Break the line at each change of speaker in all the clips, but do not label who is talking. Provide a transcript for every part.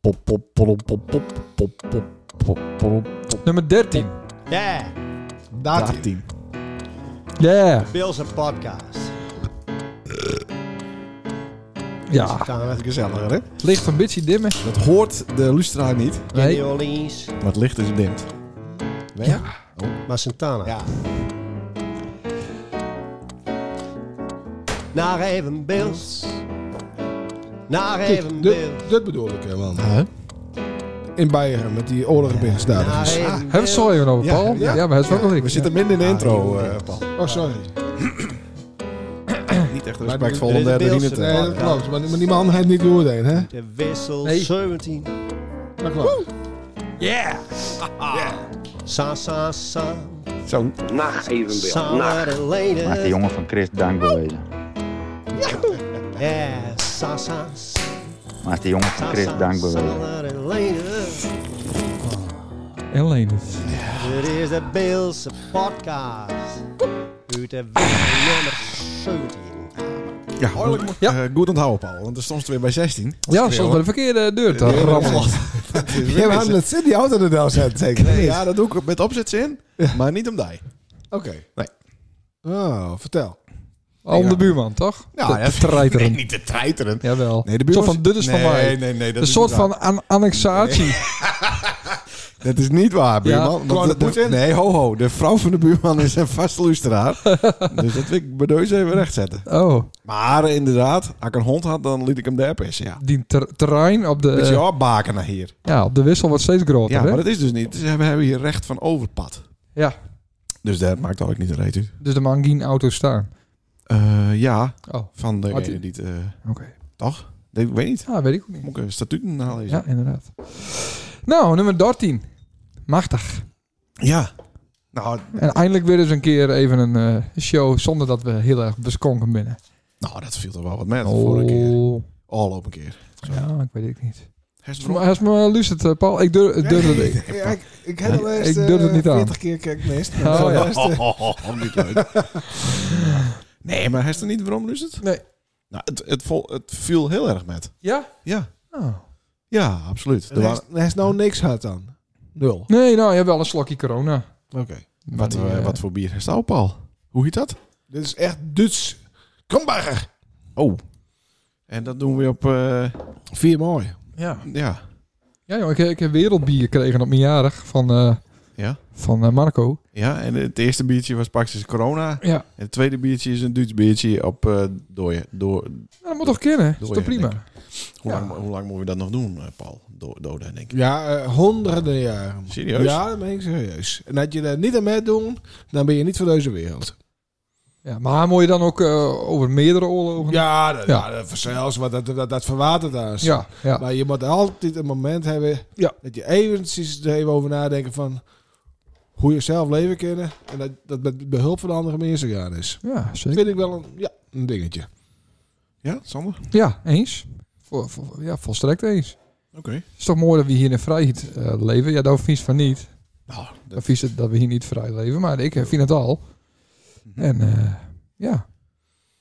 Pop, pop, pop, pop, pop, pop, pop, pop, pop, pop.
Nummer 13.
Ja, dat
13.
Yeah.
Bilse podcast.
Ja.
Gaan we even gezelliger, hè?
Het licht van Bitchy dimmen.
Dat hoort de luisteraar niet,
Nee.
Nee.
Orleans,
maar het licht is dimd.
Ja.
maar Santana.
Ja.
Naar even Bills. Naar even
Kijk, dit,
Bills.
dit bedoel ik helemaal. In Beieren met die oorlog binnen
Ah,
Naar
staat.
even
Hebben we het zo even over,
Ja,
Paul? Ja,
ja.
maar het is wel wel
We zitten midden in de intro, eh, Paul.
Oh, sorry.
Niet echt
respectvol
om derde
derde
Dit is de
Nee, dat klopt. Maar die, maar die man heeft niet gehoord heen, hè?
De wissel
Nee.
17.
Dat klopt.
Yeah.
Sa, sa, sa.
Zo.
Nacht evenbeeld.
Samen
Nacht.
en
Mag de
leden.
jongen van Chris dank wezen.
Ja, sa, sa, sa.
Mag de jongen van Chris dank bewezen.
Samen en leden.
En Lenert.
Dit is de Bilse podcast. Uit de wissel nummer 17.
Ja, goed
Ja.
eh, goed onthouden, Paul. Want er stond ze weer bij 16.
Ja, soms bij de verkeerde deur te rammelen.
Je hebt het zin die auto er wel zet, zeker.
Nee,
Niet?
ja, dat doe ik met opzetzin, maar niet om die.
Oké.
Nee.
Oh, vertel.
Om de buurman, toch?
Ja,
Te- te treiteren.
niet te treiteren.
Jawel.
Nee, de
Zo
buurman-
van, dit is van
Nee,
mij.
nee, nee, dat
Een
is
soort
niet waar.
van an- annexatie.
Dat is niet waar, buurman. Want
Gewoon
de-
de poets in.
nee, ho, ho. De vrouw van de buurman is een vast luisteraar. dus dat wil ik bij deze even rechtzetten.
Oh,
Maar eh, inderdaad, als ik een hond had, dan liet ik hem daar pissen, ja.
die ter- terrein op de,
Met je opbaken naar hier.
ja, op de wissel wordt steeds groter.
Ja,
hè?
maar dat is dus niet. Dus we hebben hier recht van overpad.
ja,
Dus dat maakt ook niet een reet uit.
dus er mag geen auto staan.
Eh, ja,
Oh,
van
Had u-
degene die het... eh,
oké.
toch? Ik weet niet.
Ah, weet ik ook niet.
Moet ik een statuten halen?
Ja, inderdaad. Nou, nummer 13. Machtig.
Ja. Nou,
En eindelijk weer eens een keer even een eh, show zonder dat we heel erg beskonken binnen.
nou, dat viel er wel wat mee. de
Oh.
Vorige keer. Al op een keer.
Ja, ik weet het niet.
Hersen
Maar als me luistert, eh, Paul, ik durf, ik durf het niet.
Ja, ik, ik heb al eerst
Ik
eh,
durf het niet aan.
40 keer kijk meest.
Oh, ja.
eh,
niet leuk. Nee, maar hersen niet waarom dus het?
Nee.
Nou, het, het, vol, het viel heel erg met.
Ja?
Ja.
Oh.
Ja, absoluut. Er waren-
Hij is nou niks hard dan. Nul.
Nee, nou, je hebt wel een slokje corona.
Oké.
Maar
Wat,
die,
eh,
eh,
wat voor bier herst nou, Paul? Hoe heet dat?
Dit is echt Duits.
Kramberger. Oh. En dat doen we op... eh,
Vier mooi.
Ja.
ja.
Ja, joh, ik, ik heb wereldbier gekregen op mijn jarig van, eh,
Ja.
van eh, Marco.
Ja, en het eerste biertje was praktisch corona. En
Ja.
het tweede biertje is een Duits biertje op eh dooie. Door,
dat moet toch kennen? Dat is
Door
toch
je,
prima?
denk hoe,
Ja.
lang, hoe lang moeten we dat nog doen, eh, Paul? Do, doden, denk ik.
Ja, eh, honderden jaren.
Serieus?
Ja, dat meen ik serieus. En dat je daar niet aan mee doet, dan ben je niet van deze wereld.
Ja, maar moet je dan ook eh, over meerdere oorlogen?
Ja, dat,
Ja.
ja. dat vanzelfs, want dat, dat, dat verwatert ons.
ja. ja.
Maar je moet altijd een moment hebben
Ja.
dat je eventjes er even over nadenken van hoe je zelf leven kennen. En dat dat met behulp van andere mensen gaan is.
Ja,
Dat
zeker.
vind ik wel een, ja, een dingetje.
Ja, Sander?
Ja, eens. Voor, voor- ja, volstrekt eens.
Oké.
Het is toch mooi dat we hier in vrijheid eh, leven. Ja, daar vies van niet.
Nou, dat-
Dat vies het dat we hier niet vrij leven, maar ik eh, vind het al. En eh, ja,
Mhm.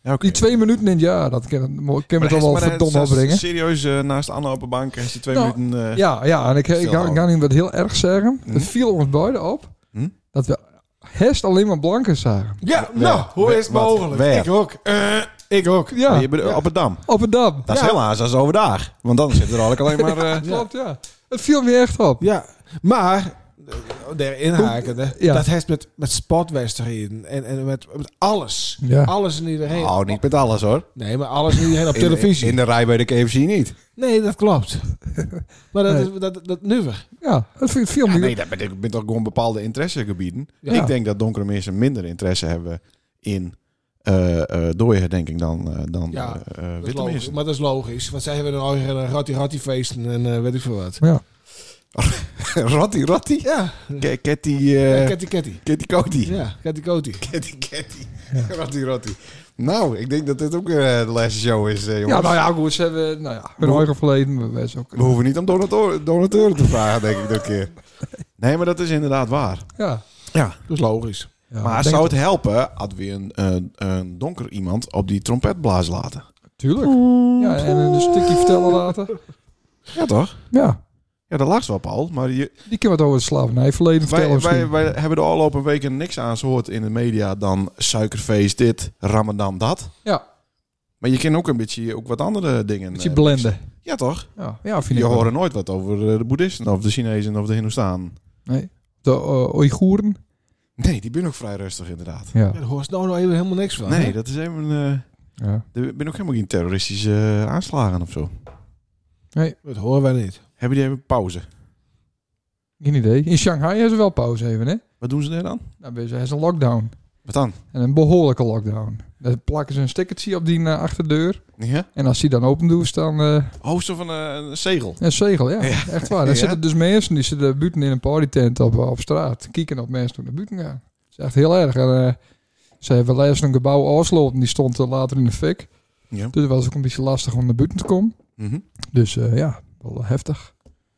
ja, oké.
die twee minuten in het jaar, dat kan, mo- kan me
Maar eh,
toch wel
hij is- maar
verdomme
hij is-
opbrengen.
Serieus, eh, naast Anna op de bank heeft hij twee
Nou,
minuten... eh,
Ja, ja, en ik, ik,
Stil
ga- ik
houden.
ga nu wat heel erg zeggen.
Hm?
Het viel ons beiden op
Hm?
dat we hest alleen maar blanken zagen.
Ja,
nou, hoe is het mogelijk? Ik
ook. ik ook.
Ja,
je bent Op het dam.
op het dam.
Dat is
Ja.
helaas, dat is overdag. Want dan zit er eigenlijk alleen maar... eh,
Klopt, ja. Het viel me echt op.
Ja, maar eh, daar inhakende,
Ja.
dat heeft met, met sportwedstrijden en, en met, met alles.
Ja.
Alles en iedereen.
Nou, niet met alles hoor.
Nee, maar alles en iedereen op
In-
televisie.
In de rij bij de KFC niet.
Nee, dat klopt. maar dat,
Nee.
is, dat, dat nu weer.
Ja, het viel, het viel me
nee, dat ben, ik ben toch gewoon bepaalde interessegebieden.
Ja.
Ik denk dat donkere mensen minder interesse hebben in eh eh dooien, denk ik, dan, eh, dan
Ja,
eh, eh,
Dat is
witte
logisch,
mensen.
maar dat is logisch. Want zij hebben dan al een ratty-ratty feesten en eh, weet ik veel wat.
Ja.
Ratty, ratty.
Ja,
Ke- Ketty, eh,
Ketty Ketty.
Ketty Coty.
Ja, Ketty Koti.
Ketty, Ketty. Ratty, ratty. Nou, ik denk dat dit ook eh, de laatste show is, eh, jongens.
Ja, nou ja, goed, ze hebben nou ja, hun
Hoe-
eigen verleden. maar wij zijn ook,
We hoeven niet om donator- donateuren te vragen, denk ik, dat keer. Nee, maar dat is inderdaad waar.
ja.
Ja,
Dat is logisch.
Ja,
maar
ik denk
zou
dat-
het helpen als we een, een, een donker iemand op die trompetblaas laten?
Tuurlijk. Ja, en een stukje vertellen laten.
Ja, toch?
Ja,
Ja, dat lag wel, Paul. Maar je,
die kan wat over het slavernijverleden vertellen
wij, wij,
misschien.
wij hebben de afgelopen weken niks aan gehoord in de media dan suikerfeest dit, ramadan dat.
Ja,
Maar je kan ook een beetje ook wat andere dingen.
een beetje
eh,
blenden.
Ja, toch?
Ja, ja vind
Je
ik wel.
hoort nooit wat over eh, de boeddhisten of de Chinezen of de Hindoestanen.
Nee. De eh, Oeigoeren.
Nee, die ben ook vrij rustig inderdaad.
Ja.
Ja, daar hoort nou nog even helemaal niks van.
Nee,
hè?
dat is even... eh
ja.
er ben ook helemaal geen terroristische eh, aanslagen of zo.
Dat horen wij niet.
Hebben die even pauze?
Geen idee. In Shanghai hebben ze wel pauze even, hè?
Wat doen ze daar dan?
Nou, er is een lockdown.
Wat dan?
En een behoorlijke lockdown. Dan plakken ze een stickertje op die eh, achterdeur.
Ja?
En als die dan opendoet, dan eh,
Oh, zo van eh, een zegel.
een zegel, ja. Echt waar. Er
Ja.
zitten dus mensen die zitten buiten in een partytent op, op straat. Kieken op mensen toen naar buiten gaan. Dat is echt heel erg. En, eh, ze hebben laatst een gebouw afgesloten. Die stond eh, later in de fik.
Ja.
Dus het was ook een beetje lastig om naar buiten te komen.
Mhm.
Dus eh, ja, wel heftig.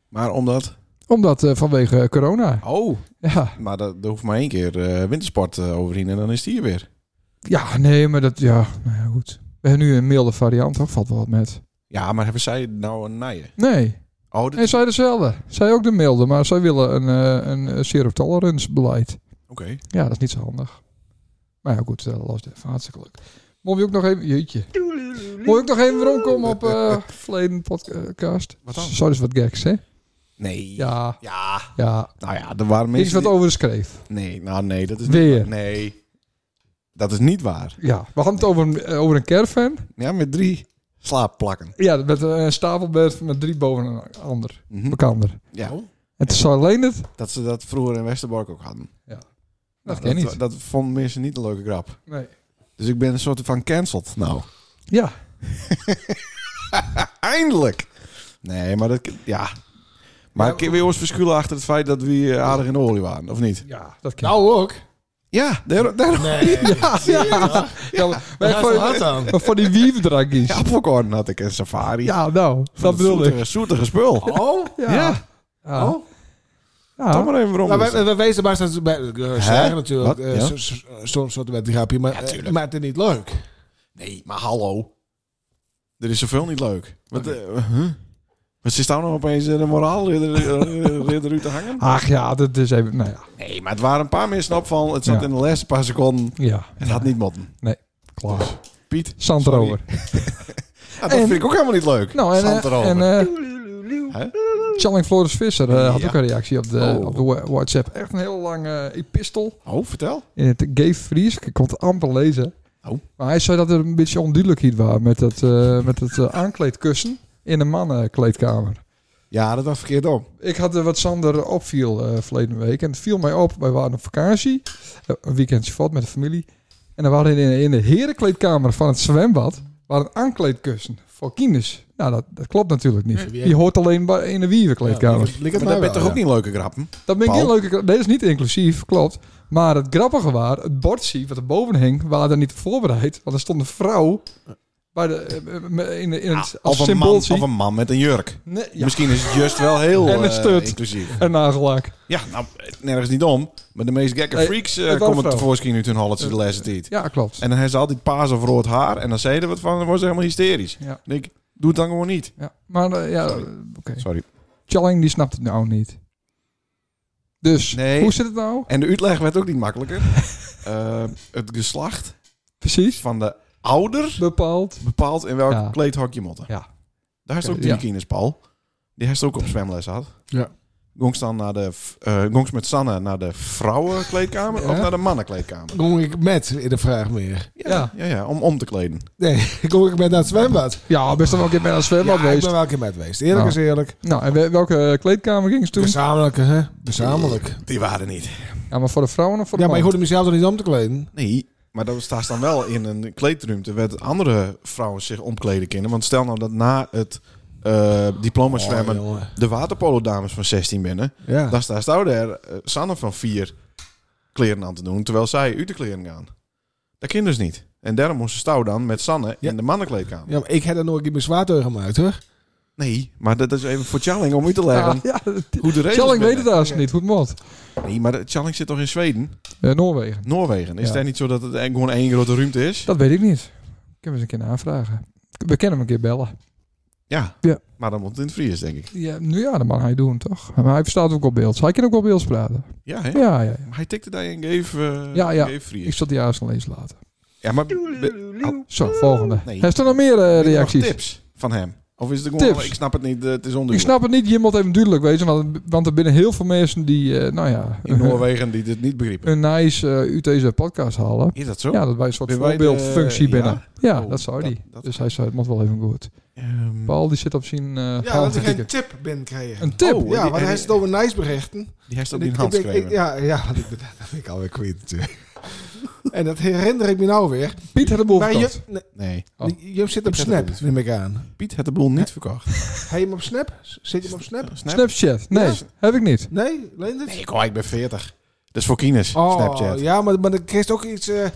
Maar omdat...
Omdat eh, vanwege corona.
Oh,
Ja.
maar dat, er hoeft maar één keer eh, wintersport eh, overheen en dan is die hier weer.
Ja, nee, maar dat... Ja, nou ja, goed. We hebben nu een milde variant, toch? Valt wel wat met.
Ja, maar hebben zij nou een nijen?
Nee,
Oh, dat...
nee zij dezelfde. Zij ook de milde, maar zij willen een, eh een eh, zero tolerance beleid.
Oké.
Ja, dat is niet zo handig. Maar ja, goed, eh, los daarvan. Hartstikke leuk. Mocht je ook nog even... Jeetje. Mocht je ook nog even weer omkomen op eh verleden podcast?
Wat dan?
Zo is wat geks, hè?
Nee.
Ja,
Ja,
ja.
nou ja, er waren
Is
mensen...
wat over de schreef.
die- Nee, nou nee, dat is
Weer.
niet waar. Nee, dat is niet waar.
Ja, we hadden het over een, eh, over een caravan.
Ja, met drie slaapplakken.
Ja, met een stapelbed met drie boven een ander.
Mhm.
Bekander.
Ja,
En toen zei alleen het...
dat ze dat vroeger in Westerbork ook hadden. Nou,
Dat ken
dat,
je niet.
dat vonden mensen niet een leuke grap.
Nee.
Dus ik ben een soort van cancelled nou.
Ja,
Eindelijk! Nee, maar dat... Ja. Maar
Ja,
ik wil ons verschuilen achter het feit dat we eh, aardig in de olie waren, of niet?
ja dat kan.
Nou ook.
Ja, daar... daar
Nee.
ja, ja. Ja, maar wij voor,
dan?
maar voor die wiefdrankjes.
ja,
Ja,
popcorn had ik en safari.
nou,
Van
dat
het
bedoel ik.
zoetere- Zoetere spul.
Oh.
Ja.
Ja.
Ja.
Oh.
Ja.
Kom maar even rond.
Nou, we, we wezen maar steeds bij eh, zeggen natuurlijk.
Wat?
eh,
Ja.
so- so- Soms wordt het met een grapje, maar,
Ja,
eh,
tuurlijk.
maar het is niet leuk.
Nee, maar hallo. Er is zoveel niet leuk. Wat, eh, huh? Wat zit daar nou opeens eh, de moraalridder uit te hangen?
Ach ja, dat is even. Nou ja,
Nee, maar het waren een paar mensen opval. Het zat
Ja.
in de laatste paar seconden.
ja.
Het had niet motten.
Klaar.
Piet,
Zandrover.
ja, dat
En-
vind ik ook helemaal niet leuk.
Nou, en,
Zand
eh
erover.
en
Hè?
Challing Flores Visser eh, had
Ja.
ook een reactie op de,
Oh.
op de wa- WhatsApp. Echt een heel lange epistel.
oh, vertel.
In het gay Fries. Ik kon het amper lezen.
Oh.
Maar hij zei dat er een beetje onduidelijkheid was met het, eh, met het eh, aankleedkussen in de mannenkleedkamer.
Ja, dat was verkeerd om.
Ik had eh, wat Sander opviel eh verleden week. En het viel mij op. Wij waren op vakantie. eh, Een weekendje vat met de familie. En dan waren in, in de herenkleedkamer van het zwembad... waren aankleedkussen voor kinders. Nou, dat, dat klopt natuurlijk niet.
Nee.
Je hoort alleen bij- in de wievenkleedkamer.
Ligt het
Maar
mij
dat ben
wel,
toch ook
ja.
niet leuke grappen?
dat ben ik
Paul?
heel leuk. Nee, dat is niet inclusief, klopt. Maar het grappige was... het bordje wat er boven hing... waren er niet op voorbereid. Want er stond een vrouw... Bij de, eh, in, in het, als
of, een man,
symbooltje.
of een man met een jurk.
Nee, ja,
Misschien is het juist wel heel
En een
eh,
stut.
inclusief.
een nagellaak.
Ja, nou, nergens niet om. Maar de meest gekke
Nee,
freaks
het
eh
was een
komen
vrouw.
tevoorschijn uit hun holletje de laatste tijd.
Ja, klopt.
En dan hebben ze altijd paas of rood haar. En dan zeiden we wat van, dan worden ze helemaal hysterisch.
Ja.
En ik, doe het dan gewoon niet.
Ja, maar eh, ja,
Sorry.
eh, oké.
Sorry.
Challing die snapt het nou niet. Dus,
Nee.
hoe zit het nou?
En de uitleg werd ook niet makkelijker. Eh, het geslacht
Precies.
van de ouder
Bepaald.
bepaalt in welk
Ja.
kleedhok je motten.
Ja.
Daar is ook die
Ja.
kines, Paul. Die heeft ook op zwemles gehad.
Ja.
Gongs dan naar de, v- eh, Gongs met Sanne naar de vrouwenkleedkamer
Ja.
of naar de mannenkleedkamer?
Kom ik met in de vraag meer?
Ja.
Ja, ja, om om te kleden.
Nee, kom ik met naar het zwembad?
Ja, best wel een keer bij een zwembad
ja, ik
geweest.
ben wel een keer met geweest. Eerlijk
Nou.
is eerlijk.
Nou, en we- welke eh, kleedkamer ging ze toen?
Gezamenlijk, hè? Gezamenlijk.
Die waren er niet.
Ja, maar voor de vrouwen of voor de
Ja, maar je
mannen?
hoorde mezelf er niet om te kleden.
Nee, maar dat staat dan wel in een kleedruimte waar andere vrouwen zich omkleden kunnen. Want stel nou dat na het eh, diploma zwemmen
Oh, jongen.
de waterpolo dames van 16 binnen.
Ja.
Dan staat nou daar eh, Sanne van 4 kleren aan te doen, terwijl zij uit de kleren gaan. Dat kan dus niet. En daarom moest Stouw dan met Sanne
Ja.
in de mannenkleedkamer.
ja, maar ik heb er nooit geen bezwaar tegen gemaakt, hoor.
Nee, maar dat is even voor Challing om u te leggen
Ja, ja,
hoe de regels
Challing weet
binnen.
het haast niet, hoe het moet.
Nee, maar de- Challing zit toch in Zweden?
Eh, Noorwegen.
Noorwegen. Is
Ja.
het daar niet zo dat het eigenlijk gewoon één grote ruimte is?
Dat weet ik niet. Kunnen we eens een keer aanvragen. We kunnen hem een keer bellen.
Ja.
Ja.
Maar dan moet het in het Fries, denk ik.
Ja, nou ja, dat mag hij doen, toch? Maar hij verstaat ook op beeld. Hij kan ook op beeld praten.
Ja, hè?
Ja, ja, ja.
Maar hij tikte daar en geef, eh
Ja, ja.
geef Fries.
Ik zal die juist al eens laten.
Ja, maar be-
Zo, volgende.
Nee.
Heeft er nog meer eh,
ben je nog
reacties?
tips van hem? Of is het gewoon,
Tips?
ik snap het niet, eh, het is
Ik
onduidelijk.
snap het niet, je moet even duidelijk wezen, want, want er binnen heel veel mensen die, eh, nou ja,
In Noorwegen die dit niet begrepen.
een nice eh, uit deze podcast halen.
Is dat zo?
Ja, dat wij een soort
Ben wij de-
voorbeeldfunctie
ja?
binnen. Ja,
Oh,
dat zou
dat-
die.
dat-
Dus hij zei, het moet wel even goed.
Ehm,
Paul, die zit op zijn eh
Ja, dat ik
halve
geen
ticket.
tip ben krijgen.
Een tip?
Oh,
Ja,
die-
want hij
die-
heeft het over nice berichten.
die heeft ook
En
niet
ik-
hand
ik denk-
geschreven.
ik- Ja, ja, want ik ben, dat ben ik alweer kwijt natuurlijk. en dat herinner ik me nou weer.
Piet had de boel
Maar
verkocht.
je, nee,
Nee,
Oh.
je zit op
Ik zet
Snap,
het op.
neem ik aan.
Piet had de boel niet verkocht.
Heb je hem op Snap? Zit je hem op Snap?
Snap?
Snapchat? Nee,
Ja.
heb ik niet.
Nee, Leendert?
Nee, ik, oh, ik ben 40. Dat is voor kines,
Oh,
Snapchat.
ja, maar, maar dan kun je ook iets eh,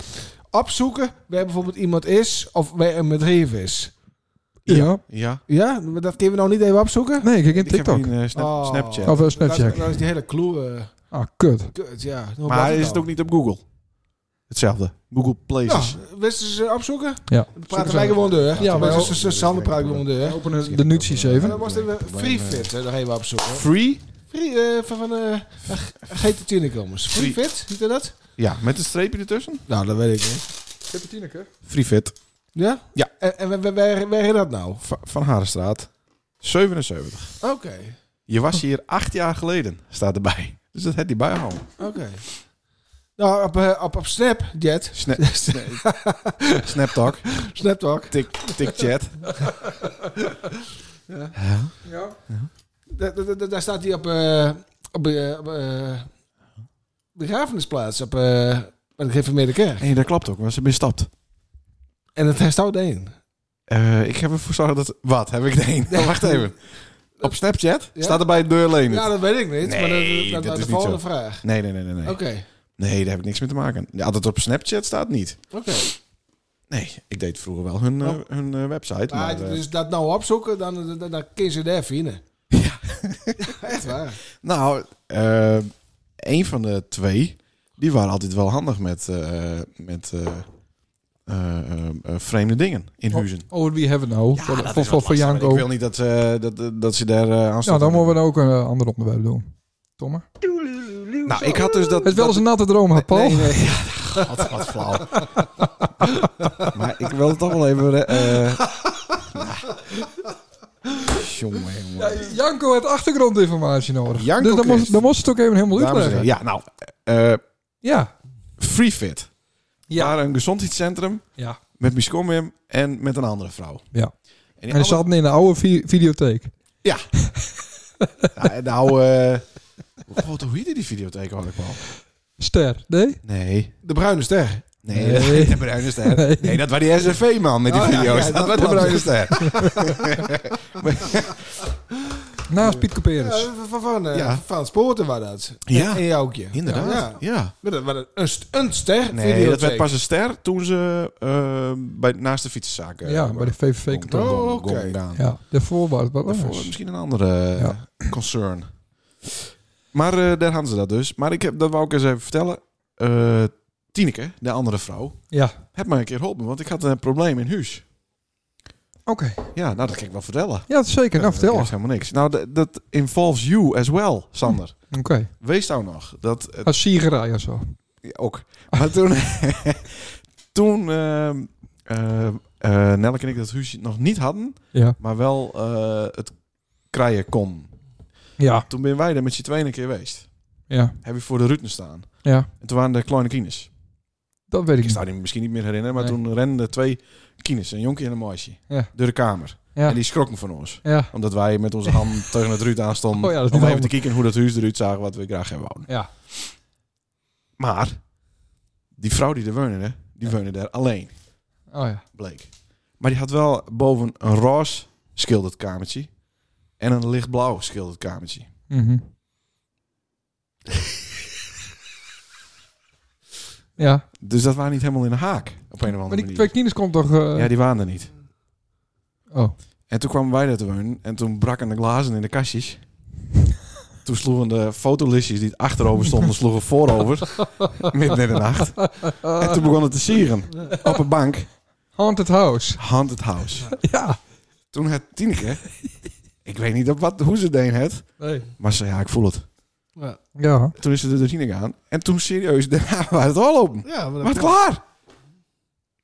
opzoeken waar bijvoorbeeld iemand is of waar een bedrijf is.
Ja.
Ja,
Ja, maar dat kunnen we nou niet even opzoeken?
Nee, kijk in
ik heb
TikTok.
een eh, Snap-
Oh.
Snapchat.
Of eh,
Dat is,
Snapchat.
dat is die hele clue. eh,
Ah, kut.
kut, ja. Hoe blijft
Maar is
dat
het
nou?
ook niet op Google? Hetzelfde. Google Places.
Ja, wisten ze opzoeken?
Ja.
Dan
Zoeken
praten
ze
wij
op.
gewoon deur.
Ja,
Ja,
maar
maar
ook-
ze Sander praat gewoon deur.
Openen de nuties even.
En dan was er free fit hè, nog even opzoeken.
Free?
Free eh, van van eh GT Tunicomers. Free
Free-
fit, ziet u dat?
Ja, met een streepje ertussen.
Nou, dat weet ik niet.
Free Fit.
Ja?
Ja.
En, en waar, waar, waar, waar is dat nou?
Va- Van Harenstraat. 77.
Oké,
Je was hier
Oh.
acht jaar geleden, staat erbij. Dus dat had hij bijgehouden.
oké. Nou, op, eh, op, op Snapchat.
Snap, Snaptalk.
Snap toch?
Tik, TikChat.
Ja.
Da- da- da- Daar staat hij op, eh op, eh, op eh, begrafenisplaats op eh bij de gereformeerde kerk.
Nee, dat klopt ook, want ze misstapt.
En het herstouwt één.
Eh ik heb ervoor gezorgd dat... Wat heb ik nee? Oh, wacht even. Op Snapchat
Ja.
staat er bij de deur Leendert.
Ja, dat weet ik niet. maar dat,
Nee,
dat,
dat
was
is
de
niet
volgende
zo.
vraag.
Nee, nee, nee, nee. Nee.
Oké,
nee, daar heb ik niks mee te maken. Ja, dat op Snapchat staat niet.
oké.
Nee, ik deed vroeger wel hun, eh,
Oh.
hun eh, website.
Maar
Maar, eh,
dus dat nou opzoeken, dan, dan, dan, dan kun je ze daar vinden. Ja. Echt waar.
Nou, eh een van de twee, die waren altijd wel handig met, eh, met eh, eh, eh, vreemde dingen in huizen.
Oh, wie hebben we nou?
Ja,
Voor-
dat is
voor
wat
voor, voor
lastig, maar
Janko.
Ik wil niet dat, ze dat, dat ze daar eh, aan
Ja,
zitten.
dan moeten we dan ook een eh, ander onderwerp doen. Tomme.
Nou, ik had dus dat...
Het is wel eens een natte droom, had Paul.
Nee, nee, ja, God, wat flauw. maar ik wil het toch wel even... eh eh, Jongen, jongen.
Ja, Janko heeft achtergrondinformatie nodig.
Janko
dus dan
Christ.
moest, dan moest het ook even helemaal
Dames en
uitleggen.
heren,
Ja.
ja, nou, eh
Ja.
FreeFit.
Ja.
Naar een gezondheidscentrum
ja.
met Mies Komwim en met een andere vrouw.
Ja.
En, die
En hij
andere-
zat in de oude vi- videotheek.
Ja, nou, eh God, hoe heette die videotheek had ik wel?
Ster, nee?
Nee.
De bruine ster.
Nee,
Nee.
dat was niet de Bruine Ster. Nee, dat was die SNV-man met die
Oh, ja,
video's.
ja,
dat,
dat
was de
klopt.
Bruine Ster.
Naast Piet Couperus.
Ja, van, van, eh,
Ja.
van Spoorten was dat.
Ja.
En jou ook, ja.
Inderdaad, ja.
Ja. Maar dat was een- een, st- een ster.
Nee, dat werd
videotheek.
pas een ster toen ze eh, bij, naast de fietsenzaak... eh,
ja, bij de VVV
gong-
kantoor.
gong-
Oh,
gong-
oké.
gong- gedaan.
Ja, daarvoor was het wat
Daarvoor
anders.
misschien een andere eh,
Ja.
concern. Maar eh, daar hadden ze dat dus. Maar ik heb, dat wou ik eens even vertellen. Eh, Tineke, de andere vrouw,
Ja,
heb mij een keer geholpen. Want ik had een probleem in huis.
oké.
Ja, nou dat kan ik wel vertellen.
Ja, zeker. Nou, vertel
Dat
eens.
is helemaal niks. Nou, dat, dat involves you as well, Sander.
Oké.
Wees nou nog. Dat, het-
Als siegerij of zo.
ja, ook. Maar toen... toen ehm eh, eh, Nelleke en ik dat huisje nog niet hadden.
Ja.
Maar wel eh, het krijgen kon.
Ja.
Toen ben wij er met z'n tweeën een keer geweest.
Ja.
heb je voor de Ruten staan.
Ja.
En toen waren de kleine kines.
Dat weet ik
Ik
niet.
zou die misschien niet meer herinneren, maar
Nee.
toen renden er twee kines, een jonkie en een meisje,
Ja.
door de kamer.
Ja.
En die schrokken van ons.
Ja.
Omdat wij met onze hand tegen het ruut aanstonden
Oh ja, dat is
om
niet
even te kijken hoe dat huis eruit zag, wat we graag hebben wouden.
Ja.
Maar, die vrouw die er woonde, die woonde daar alleen,
Oh ja.
bleek. Maar die had wel boven een roze schilderd kamertje en een lichtblauw schilderd kamertje.
Mhm. ja.
Dus dat waren niet helemaal in de haak, op een of andere
Maar die
manier.
twee kines komt toch... eh,
Ja, die waren er niet.
Oh.
En toen kwamen wij daar te wonen. En toen braken de glazen in de kastjes. Toen sloegen de fotolistjes die achterover stonden, sloegen voorover. Midden in de nacht. En toen begon het te sieren. Op een bank.
Haunted House.
Haunted House.
Ja.
Toen had Tineke, ik weet niet op wat, hoe ze deed het,
Nee.
maar ze zei, ja, ik voel het.
Ja,
Ja.
Toen is ze er doorheen gegaan. En toen serieus, daarna waren het al open.
ja maar
Maar het klaar.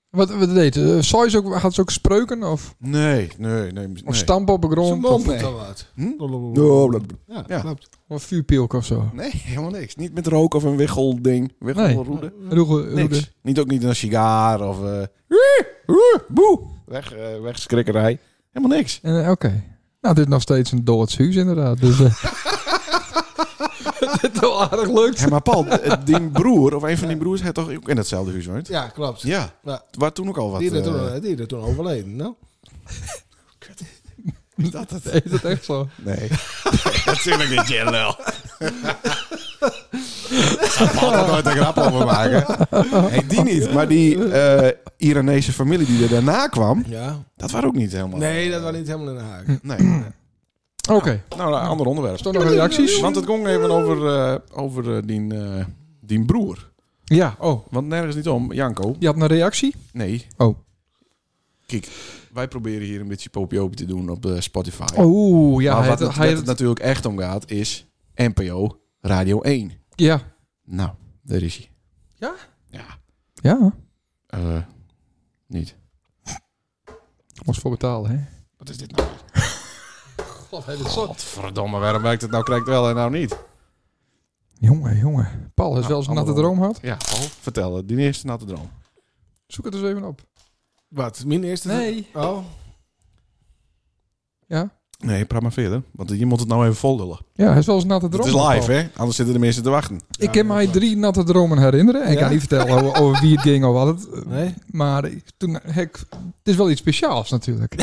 Wat, wat deed ze? Zou ze ook, had ze ook spreuken of,
Nee, nee, nee. nee.
of stampen op de
Ze
grond? Of,
mompelt al wat.
Hm?
Ja,
Ja.
klopt.
of vuurpilk of zo?
Nee, helemaal niks. Niet met rook of een wiggelding. Wiggelroede.
Roege- roede.
Niks. Niet ook niet een sigaar of... eh, "Oeh, oeh, boe. Weg, eh, wegschrikkerij. Helemaal niks.
En, eh, Oké. Nou, dit is nog steeds een doods huis inderdaad. Dus, eh dit wel aardig lukt.
Hé, maar Paul, eh, die broer of een van die broers had toch ook in hetzelfde huis woont?
Ja, klopt.
Ja.
Ja.
Waar toen ook al wat...
die is er
eh,
toen, eh, die is er toen overleden, nou?
is dat het?
Is dat echt zo?
Nee. Natuurlijk niet, nou. Jellel. Paul er nooit een grap over maken. Nee, die niet. Maar die eh, Iranese familie die er daarna kwam,
Ja.
dat waren ook niet helemaal...
Nee, dat was niet helemaal in de haak. Ja,
Nee. Nou,
Oké.
nou, een ander onderwerp.
Is er nog reacties?
Want het ging even over, eh, over eh, die, eh, die broer.
Ja, oh.
Want nergens niet om, Janko.
Je had een reactie?
Nee.
Oh.
Kijk, wij proberen hier een beetje popiopie te doen op eh, Spotify.
Oeh, Oh, ja.
maar
hij
wat
had-
het,
hij
wat het
had-
natuurlijk echt om gaat, is NPO Radio 1.
ja.
Nou, daar is hij.
Ja?
Ja.
Ja.
Eh, niet.
Moest voor betalen, hè?
Wat is dit nou?
God, hij is zo...
Godverdomme, waarom werkt het nou? Krijgt wel en nou niet?
Jongen, jongen. Paul, heeft Nou, wel eens een natte
allemaal.
droom gehad?
Ja, Paul, vertel het. Die eerste natte droom.
Zoek het eens even op.
Wat? Mijn eerste?
Nee.
Oh.
Ja?
Nee, praat maar verder. Want je moet het nou even voldullen.
Ja, hij is wel eens een natte droom
Het is
gehad,
live,
Paul.
hè? Anders zitten de mensen te wachten.
Ik kan mij drie natte dromen herinneren. En ik
Ja?
kan niet vertellen over, over wie het ging of wat het...
Nee?
Maar ik- toen... Hek, het is wel iets speciaals natuurlijk.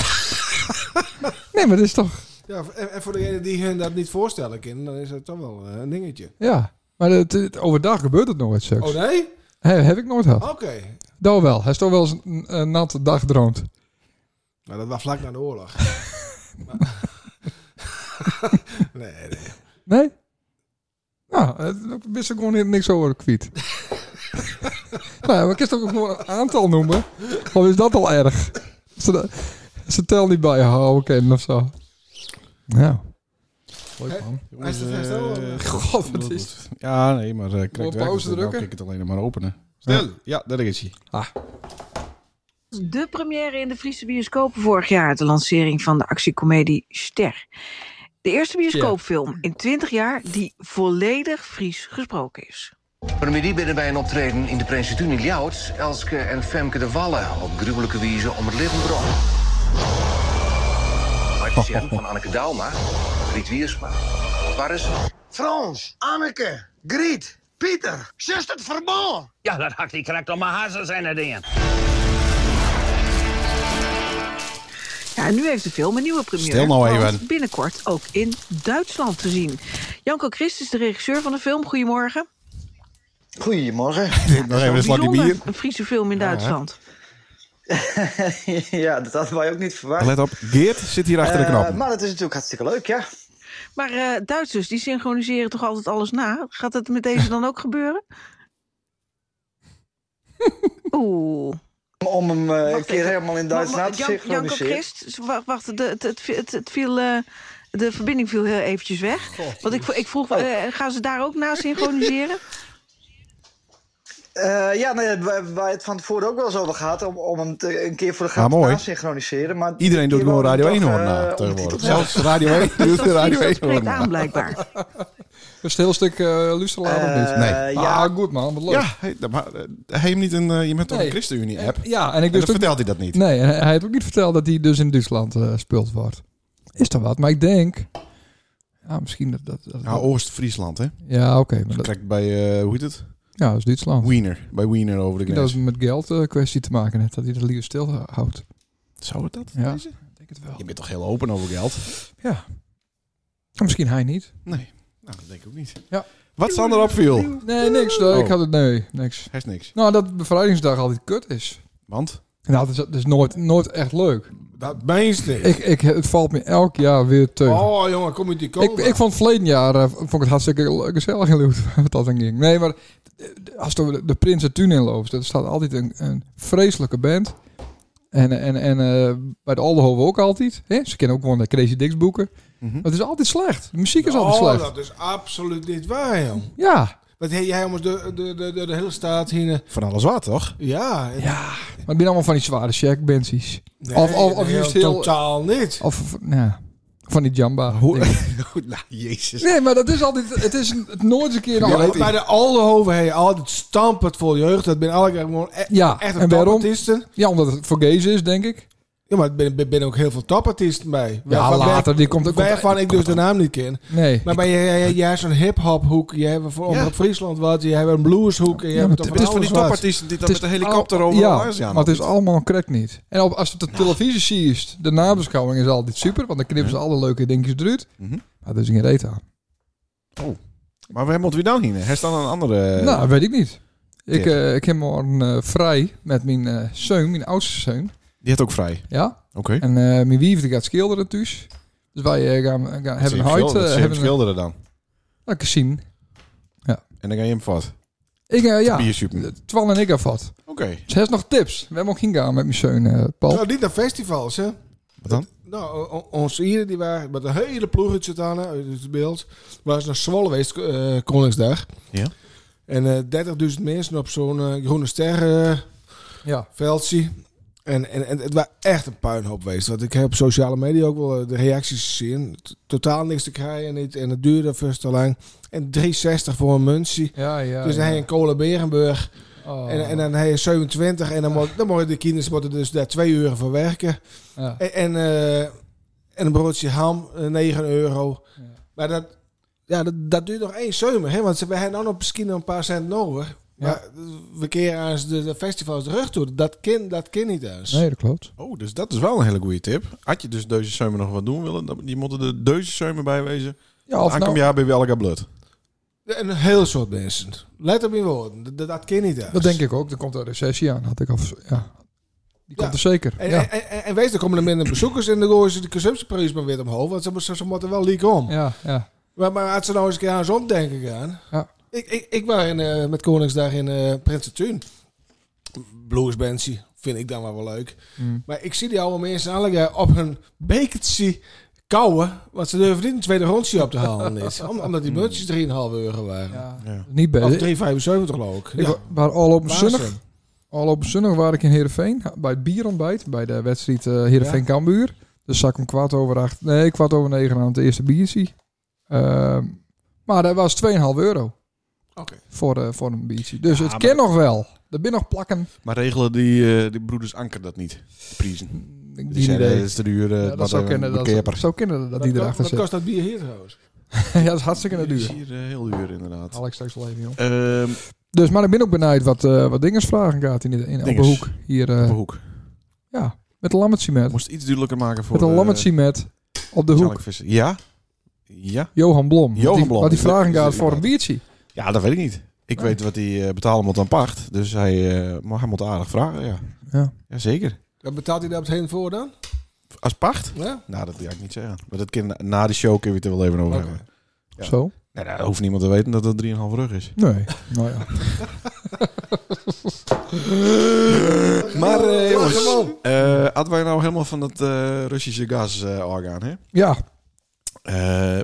nee, maar het is toch...
Ja, en, en voor degenen die hun dat niet voorstellen kunnen, dan is dat toch wel eh, een dingetje.
Ja. Maar het, het- overdag gebeurt het nooit, seks.
Oh nee?
He- heb ik nooit gehad.
Oké.
Dat wel. Hij is toch wel eens een, een natte dag droomd.
Nou, dat was vlak na de oorlog. Maar- nee, nee.
Nee? Nou, eh, ik wist ik gewoon hier niks over kwiet. nou, maar ik kan toch ook gewoon een aantal noemen? Of is dat al erg? Ze, de- ze tel niet bij houden kennen of zo. Nou. Mooi man.
Hij is er vast wel, eh,
God, wat is
Ja, nee, maar eh
Wil
krijgt
op
werk.
pauze
Dan
drukken?
kan ik het alleen nog maar openen. Stil. Ja, daar is hij.
de première in de Friese bioscopen vorig jaar, de lancering van de actiecomedie Ster. De eerste bioscoopfilm in 20 jaar die volledig Fries gesproken is.
Paramedie binnen bij een optreden in de Prinsentuin in Ljouts. Elske en Femke de Wallen op gruwelijke wijze om het leven brengen. Partijen van Anneke Dauma, Griet Wiersma, waar is
Frans, Anneke, Griet, Pieter, zus het verbond. Ja, dat hakt die correct om mijn hazen zijn er dingen.
Ja, en nu heeft de film een nieuwe première.
Stil nou
want
even.
Binnenkort ook in Duitsland te zien. Janko Christ is de regisseur van de film. Goedemorgen.
Goedemorgen.
Dat
Nog
is
even een
wel
slokje bier.
bijzonder, Een Friese film in Duitsland.
ja, dat hadden wij ook niet verwacht.
Let op, Geert zit hier achter de
Eh,
knop.
maar dat is natuurlijk hartstikke leuk, ja.
Maar eh, Duitsers, die synchroniseren toch altijd alles na? Gaat het met deze dan ook gebeuren? Oeh.
Om hem eh, een
Wacht
keer
even.
helemaal in
Maar-
Duits
maar
na te
Jan- Janko
synchroniseren.
Christ, wa- wacht, de, het, het, het, het viel, eh, de verbinding viel heel eventjes weg. Want ik, ik vroeg, eh, gaan ze daar ook na synchroniseren?
Eh, ja, nee, waar waar het van tevoren ook wel eens over gaat. Om, om hem te- een keer voor de
Ah,
grap
mooi.
na te synchroniseren. Maar
Iedereen doet
dit keer
gewoon
wou
Radio
ik
1
hem
horen
toch, eh,
na tegenwoordig.
ondertiteld
Zelfs Radio 1 doet de Radio
dat
1 horen
spreekt aan
na.
blijkbaar.
Een stil stuk eh luisteraar of niet?
hebben. Eh,
Nee.
ja,
Ah, goed man. Wat leuk.
Ja, hey, maar eh, hij heeft niet een... eh, je bent toch
Nee.
een ChristenUnie-app? En
Ja, en ik
dan
wist ook
vertelt hij dat niet.
Nee, en hij hij heeft ook niet verteld dat hij dus in Duitsland eh gespeeld wordt. Is toch wat? Maar ik denk... Ja, misschien dat... dat, dat-
Nou, Oost-Friesland, hè?
ja, oké. maar dat,
Krijgt bij, eh, hoe heet het?
ja, dat is Duitsland.
Wiener. Bij Wiener over de
Ik denk
grens.
dat het met geld eh, kwestie te maken heeft. Dat hij dat liever stilhoudt.
Zou het dat?
Ja.
wezen?
Ik denk het wel.
Je bent toch heel open over geld?
Ja. Misschien hij niet.
Nee. Nou, dat denk ik ook niet.
Ja.
Wat staan er op viel?
Nee, niks. Nee,
Oh.
Ik had het... Nee, niks.
Hij is niks.
Nou, dat bevrijdingsdag altijd kut is.
Want?
Nou, dat is, dat is nooit, nooit echt leuk.
Dat meeste.
Ik, ik, het valt me elk jaar weer teug.
Oh jongen, kom uit die
Ik,
kolen.
ik vond het verleden jaar eh, vond ik het hartstikke leuk, gezellig in Leeuwarden, wat dat dan ging. Nee, maar eh, als je de, de Prinsentuin in loopt, er staat altijd een, een vreselijke band. En, en, en eh, bij de Aldehoven ook altijd. Hè? Ze kennen ook gewoon de Crazy Dicks boeken.
Mhm.
Maar het is altijd slecht. De muziek is altijd
Oh,
slecht.
dat is absoluut niet waar, joh.
Ja,
Want hey, jij jongens, de, de, de, de, de hele staat hier... eh,
Van alles wat, toch?
Ja.
Ja, maar het zijn allemaal van die zware shack bensies Of- of- of juist heel-
Totaal niet.
Of of- nou, ja, van die jamba.
Goed, nou, jezus.
Nee, maar dat is altijd... Het is een- het nooit eens een keer...
Ja,
een-
maar bij de Aldehoven heb je altijd stampend vol jeugd. Dat ben alle keer gewoon e-
Ja,
echt
en
een
waarom?
topartiesten.
Ja, omdat het voor gays is, denk ik.
Ja, maar er ben- ben- ben ook heel veel topartiesten bij.
Ja,
Waar- waar-
later. Die komt ook...
Waarvan ik dus de naam niet ken.
Nee.
Maar bij jij- jij- jij hebt zo'n hip-hop hoek. Jij hebt voor onder Friesland wat. Jij hebt een blueshoek. en Jij
Ja,
hebt
maar
toch
Het is van
alles
die
wat.
topartiesten die dan
Het
met
is
de helikopter
al-
over nou
ja,
de
maar het is allemaal correct niet. En op, als je het
Nou.
op televisie ziet, de nabeschouwing is altijd super, want dan knippen ze alle leuke dingetjes eruit.
Mhm.
Maar er is geen reet aan.
Maar waar moeten we dan heen? Hij dan een andere...
nou, weet ik niet. Ik,
tip.
eh, ik heb morgen eh, vrij met mijn eh zoon, mijn oudste zoon.
Die had ook vrij.
Ja?
Oké.
En eh, mijn wiefde gaat schilderen thuis. Dus wij eh, gaan, gaan, hebben een huid. eh,
hebben
hebben een
schilderen dan.
nou, casino.
En dan ga je hem vast.
Ik, eh, ja,
Biersuppen.
Twan en ik gaan vat.
Oké.
Dus hij heeft nog tips. We hebben ook gaan met mijn zoon, eh, Paul.
Nou, niet naar festivals, hè.
Wat dan?
Nou, o- o- onze Ieren die waren met een hele ploegertje aan, hè, uit het beeld. Waren ze naar Zwolle geweest, eh, Koningsdag.
Ja.
En eh 30.000 mensen op zo'n eh, groene ster eh,
Ja.
veldje. En, en, en het was echt een puinhoop geweest. Want ik heb op sociale media ook wel eh, de reacties gezien. T- Totaal niks te krijgen niet. En het duurde first te lang. En 3,60 voor een muntie.
Ja, ja.
dus dan
ja.
heb je een cola Berenburg.
Oh.
En, en dan heb je 27 en dan, moet, dan moeten de kinderen moeten dus daar 2 euro voor werken.
Ja.
En, en, eh, en een broodje ham, eh, 9 euro.
Ja.
Maar dat, ja, dat, dat duurt nog één zomer, hè? want ze- we hebben nou nog misschien nog een paar cent nodig.
Ja.
Maar we keren aan de, de festivals terug toe. Dat kan, dat kan niet eens.
Nee, dat klopt.
Oh, dus dat is wel een hele goede tip. Had je dus deze zomer nog wat doen willen, dan- die moeten de deze zomer bijwezen.
Ja, of
dan kom
nou,
je haar bij Welga Blood.
Een heel soort mensen. Let op je woorden. Dat, dat kan niet eens.
dat denk ik ook. Er komt een recessie aan, had ik al. vers- Ja. Die komt
Ja.
er zeker.
En,
ja.
en, en, en wees, er komen er minder bezoekers en dan gooien ze de consumptieprijs maar weer omhoog. Want ze, ze, ze moeten wel liek om.
ja, ja.
Maar, maar had ze nou eens een keer aan zo'n denken gaan.
Ja.
Ik, ik, ik was in, eh, met Koningsdag in eh Prinsentuin. Bluesbandsie vind ik dan wel wel leuk.
Mm.
Maar ik zie die oude mensen alle keer op hun bekertje kouwen. Want ze durven niet een tweede rondje op te halen. Niet. Om- omdat
Mm.
die muntjes 3,5 euro waren.
Ja.
Niet bij.
Of
Ik,
3,75 geloof ik.
Eh, ik
Ja.
wa- waar al op zonnig.
Waanzin.
Al op zonnig waar ik in Heerenveen. Bij het bierontbijt. Bij de wedstrijd eh Heerenveen Cambuur. Dus zak om kwart over acht. Nee, kwart over negen aan het eerste biertje. Ehm, maar dat was 2,5 euro.
Oké.
Voor, eh, voor een biertje. Dus
Ja,
het
maar-
kan nog wel. Er ben nog plakken.
Maar regelen die, eh, die broeders Anker dat niet? De prijzen.
Geen
Die zeiden,
idee.
"Het is te duur, eh,
Ja,
wat
dat zou
een
kunnen dat,
bekeerper."
zou kunnen dat die
Wat-
erachter
Wat
zit.
kost dat bier hier trouwens?
ja, dat is hartstikke
Die is
duur.
hier eh, heel duur inderdaad.
Alex straks wel even, joh.
Ehm
Dus, maar ik ben ook benieuwd wat, eh wat dinges vragen gaat in, de- in op de
Dinges.
hoek. Hier, eh,
op de hoek.
ja, met een lammetje met.
Moest iets duidelijker maken voor
Met een
eh,
lammetje met op de hoek.
zalkvissen. Ja? Ja?
Johan Blom.
Johan
wat die,
Blom.
Wat die vragen
Dat
gaat
is
voor een
inderdaad.
biertje.
Ja, dat weet ik niet. Ik
Nee.
weet wat hij eh betalen moet aan pacht. Dus hij, eh, maar hij moet aardig vragen, ja.
Ja.
Jazeker.
Dan betaalt hij daar op het heen voor dan?
Als pacht?
Ja?
Nou, dat wil ik niet zeggen. Maar dat kan, na de show kunnen we het er wel even over
Oké.
hebben. Ja.
Zo?
Nee, dat hoeft niemand te weten dat dat 3,5 rug is.
Nee. nou ja.
Maar eh jongens,
Lach hem
eh, hadden wij nou helemaal van dat eh, Russische gas eh orgaan, hè?
Ja,
Eh,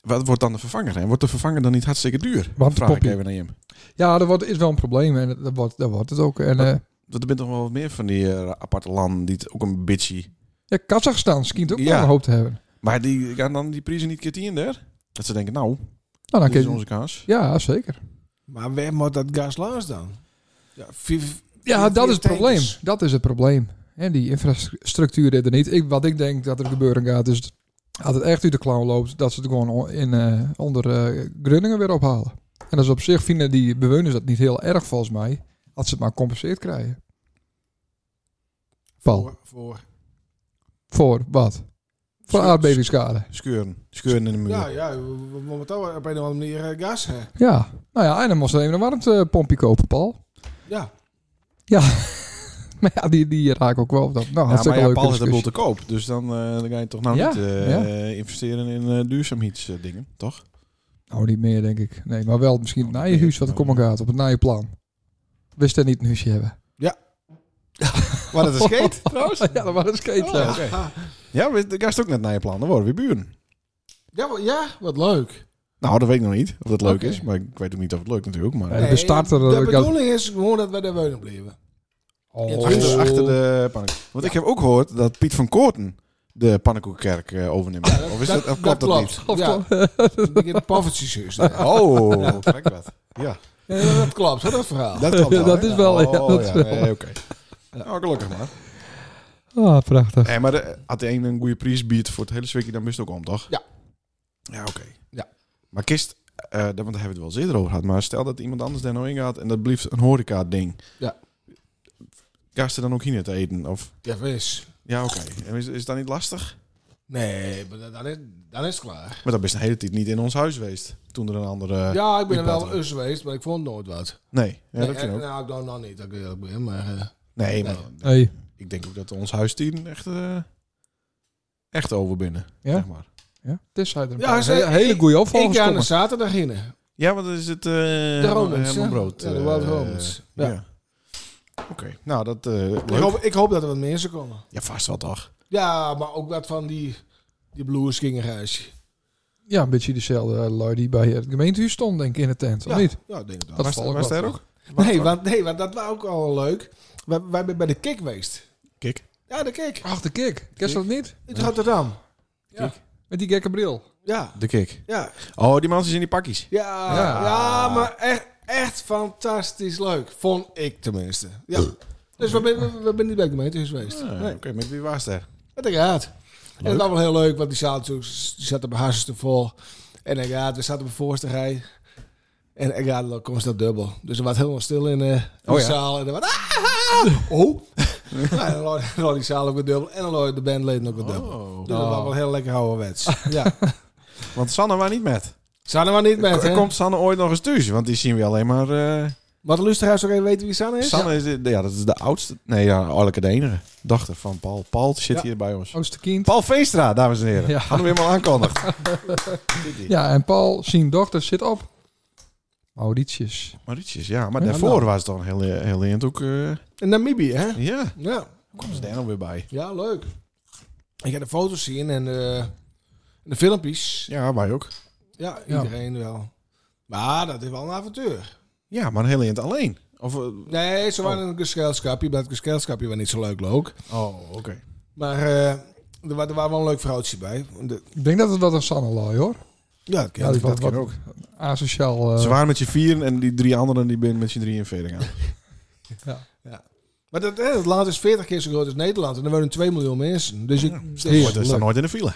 wat wordt dan de vervanger? En wordt de vervanger dan niet hartstikke duur?
Want
Vraag ik
Poppy.
even naar Jim.
ja dat wordt, is wel een probleem. En dat wordt, dat wordt het ook. En, eh
Dat er bent toch wel wat meer van die eh, aparte landen die het ook een bitchy.
ja, Kazachstan schijnt ook
Ja.
wel een hoop te hebben. Nou,
Maar die gaan dan die prijzen niet keer tien daar? Dat ze denken, nou,
Nou, dan
dit
kun
is
je,
onze kaas.
ja, zeker.
Maar waar moet dat gas langs dan? Ja, vier-
Ja,
vier-
dat is het
vier
probleem.
tankers.
Dat is het probleem. En die infrastructuur dit er niet. Ik, wat ik denk dat er gebeuren gaat, is dat het echt uit de clown loopt, dat ze het gewoon on- in, eh, onder eh, Grunningen weer ophalen. En dat is op zich vinden die bewoners dat niet heel erg volgens mij, als ze het maar compenseerd krijgen. Paul,
Voor, voor.
voor wat? Voor aardbevingsschade.
Skeuren. Skeuren in de muur.
Ja, ja, we we- we moeten wel op een of andere manier eh, gas hebben.
Ja, nou ja, en dan moest ze even een warmtepompje kopen, Paul.
Ja.
Maar ja, die, die raken ook wel op dat. Nou,
Ja, maar
hartstikke
ja,
leuke
Paul is dat boel
discussie.
te koop. Dus dan, eh, dan ga je toch nou
Ja,
niet eh,
ja.
eh, investeren in eh, duurzaamheidsdingen, toch?
Nou, niet meer, denk ik. Nee, maar wel misschien het
Oh,
naaie
nee,
huis wat er
nou,
komen
ja.
gaat, op het naaie plan. Wist dat niet een huisje hebben?
Ja. Wat het is skate.
Trouwens? Ja, dat was een skate. ja.
Ja, we- de gast ook net naar je plan. Dan worden we buren.
Ja, wa- ja, wat leuk.
Nou, dat weet ik nog niet of dat leuk
Oké.
is. Maar ik weet ook niet of het leuk natuurlijk. Maar
Nee. de starter, eh,
de
gaat-
bedoeling is gewoon dat we daar wonen blijven.
Oh.
achter, achter de pannenkoek. Want ik heb ook gehoord dat Piet van Koorten de pannenkoekkerk eh, overneemt. of is dat, of klopt dat, niet?
Of
Ja,
toch?
ik begin de poffertjes. Ja,
Oh, gek wat. Ja,
dat klopt, hè, dat verhaal.
dat klopt wel,
Dat
hè?
is wel, ja,
Oh,
dat is
ja,
wel.
nee, oké. Nou, gelukkig maar.
Ah, prachtig.
Nee, maar de, had de een een goede prijs biedt voor het hele zwikkie, dan moest het ook om, toch?
Ja.
Ja, oké.
Ja.
Maar kist, eh, daar- want daar hebben we het wel eens eerder over gehad, maar stel dat iemand anders daar nou in gaat en dat blijft een horeca-ding.
Ja.
Ga ze dan ook hier niet eten? Of,
Ja, vis.
ja, oké. En Is, is dat niet lastig?
Nee, maar dan- dan is, dan is het klaar.
Maar dat is de hele tijd niet in ons huis geweest. Toen er een andere...
Ja, ik ben er wel
Pietpater.
eens geweest, maar ik vond nooit wat.
Nee, ja,
Nee,
dat kan
en-
ook.
Nou, ik dan nog niet, dat ik eerlijk ben, maar... eh,
Nee, maar
Hey.
ik denk ook dat ons huistieren echt, eh, echt overbinnen.
Ja?
Zeg maar.
Ja, dit zijn er een
Ja,
paar
ze-
hele, hele goede
ik
opvolgers
ga dus- aan de
komen.
zaterdag in. hè.
Ja, want dan is het eh de
Romans, hè?
Brood.
Ja, de
eh,
Wild Romans.
ja.
Ja.
Oké, nou dat eh leuk.
Ik hoop, ik hoop dat er wat mensen komen.
Ja, vast wel toch.
Ja, maar ook wat van die, die blues kingerhuisje.
Ja, een beetje dezelfde eh, lui die bij het gemeentehuis stond, denk ik, in de tent, of
Ja,
niet?
ja, ik denk het wel.
Dat
Was,
val ik
was
wel
daar
voor.
ook?
nee, want, nee, want dat was ook al leuk. Wij, wij zijn bij de Kik geweest.
Kik?
Ja, de Kik.
Ach, de kik. Ken je dat niet?
In Rotterdam.
Met die gekke bril.
Ja,
De kik.
ja.
Oh, die man is in die pakjes.
Ja,
Ja.
ja. maar echt, echt fantastisch leuk. Vond ik tenminste. Ja. Dus we zijn we, we zijn niet bij de gemeentehuis geweest.
Ah,
Nee,
Oké, maar wie was daar?
dat ik raad. En het was wel heel leuk, want die zaal natuurlijk- die zat er bij hartstikke vol. En ik raad, we zaten op de voorste rij. En ik raad, dan kon ze dat dubbel. Dus er was helemaal stil in, eh, in
Oh,
de
ja.
zaal. En dan was, ah, ah, oh. nou, dan lag- dan lag die zaal ook weer dubbel. En dan lag de bandleden ook weer dubbel.
Oh.
Dus dat was wel heel lekker ouderwets. ja.
Want Sanne was niet met.
Sanne was niet met,
K-
hè?
Komt Sanne ooit nog eens thuis? Want die zien we alleen maar... eh,
Maar de luisteraars ook even weten wie Sanne is?
Sanne is, de- ja, dat is de oudste... Nee, ja, eigenlijk de enige dochter van Paul. Paul zit
Ja.
hier bij ons.
Oosterkind.
Paul Veenstra, dames en heren.
Ja.
Hadden we hem al aankondigd.
Ja, en Paul, zijn dochter, zit op. Mauritius.
Mauritius, ja. Maar
Ja,
daarvoor
nou.
was het dan heel, heel eind ook... eh,
In Namibië, hè?
ja,
Ja.
komt ze daar nou weer bij.
Ja, leuk. Ik heb de foto's zien en eh, de filmpjes.
Ja, wij ook.
Ja,
Ja.
iedereen wel. Maar dat is wel een avontuur.
Ja, maar een heel eind alleen. Of, eh,
Nee, ze waren in een gescheldskapje, maar het gescheldskapje was niet zo leuk leuk.
oh, oké.
Maar eh, er, wa- er waren wel een leuk vrouwtje bij. De-
Ik denk dat het wat een Sanne lui, hoor.
ja, dat ken
Ja,
ik
dat
wel.
wat- wat Asociaal. eh,
Ze waren met je vieren en die drie anderen die ben met je drie en verder gaan.
Maar dat, eh, het land is 40 keer zo groot als Nederland. En er wonen 2 miljoen mensen. Dus je,
Wordt er staan
je,
nooit in de file.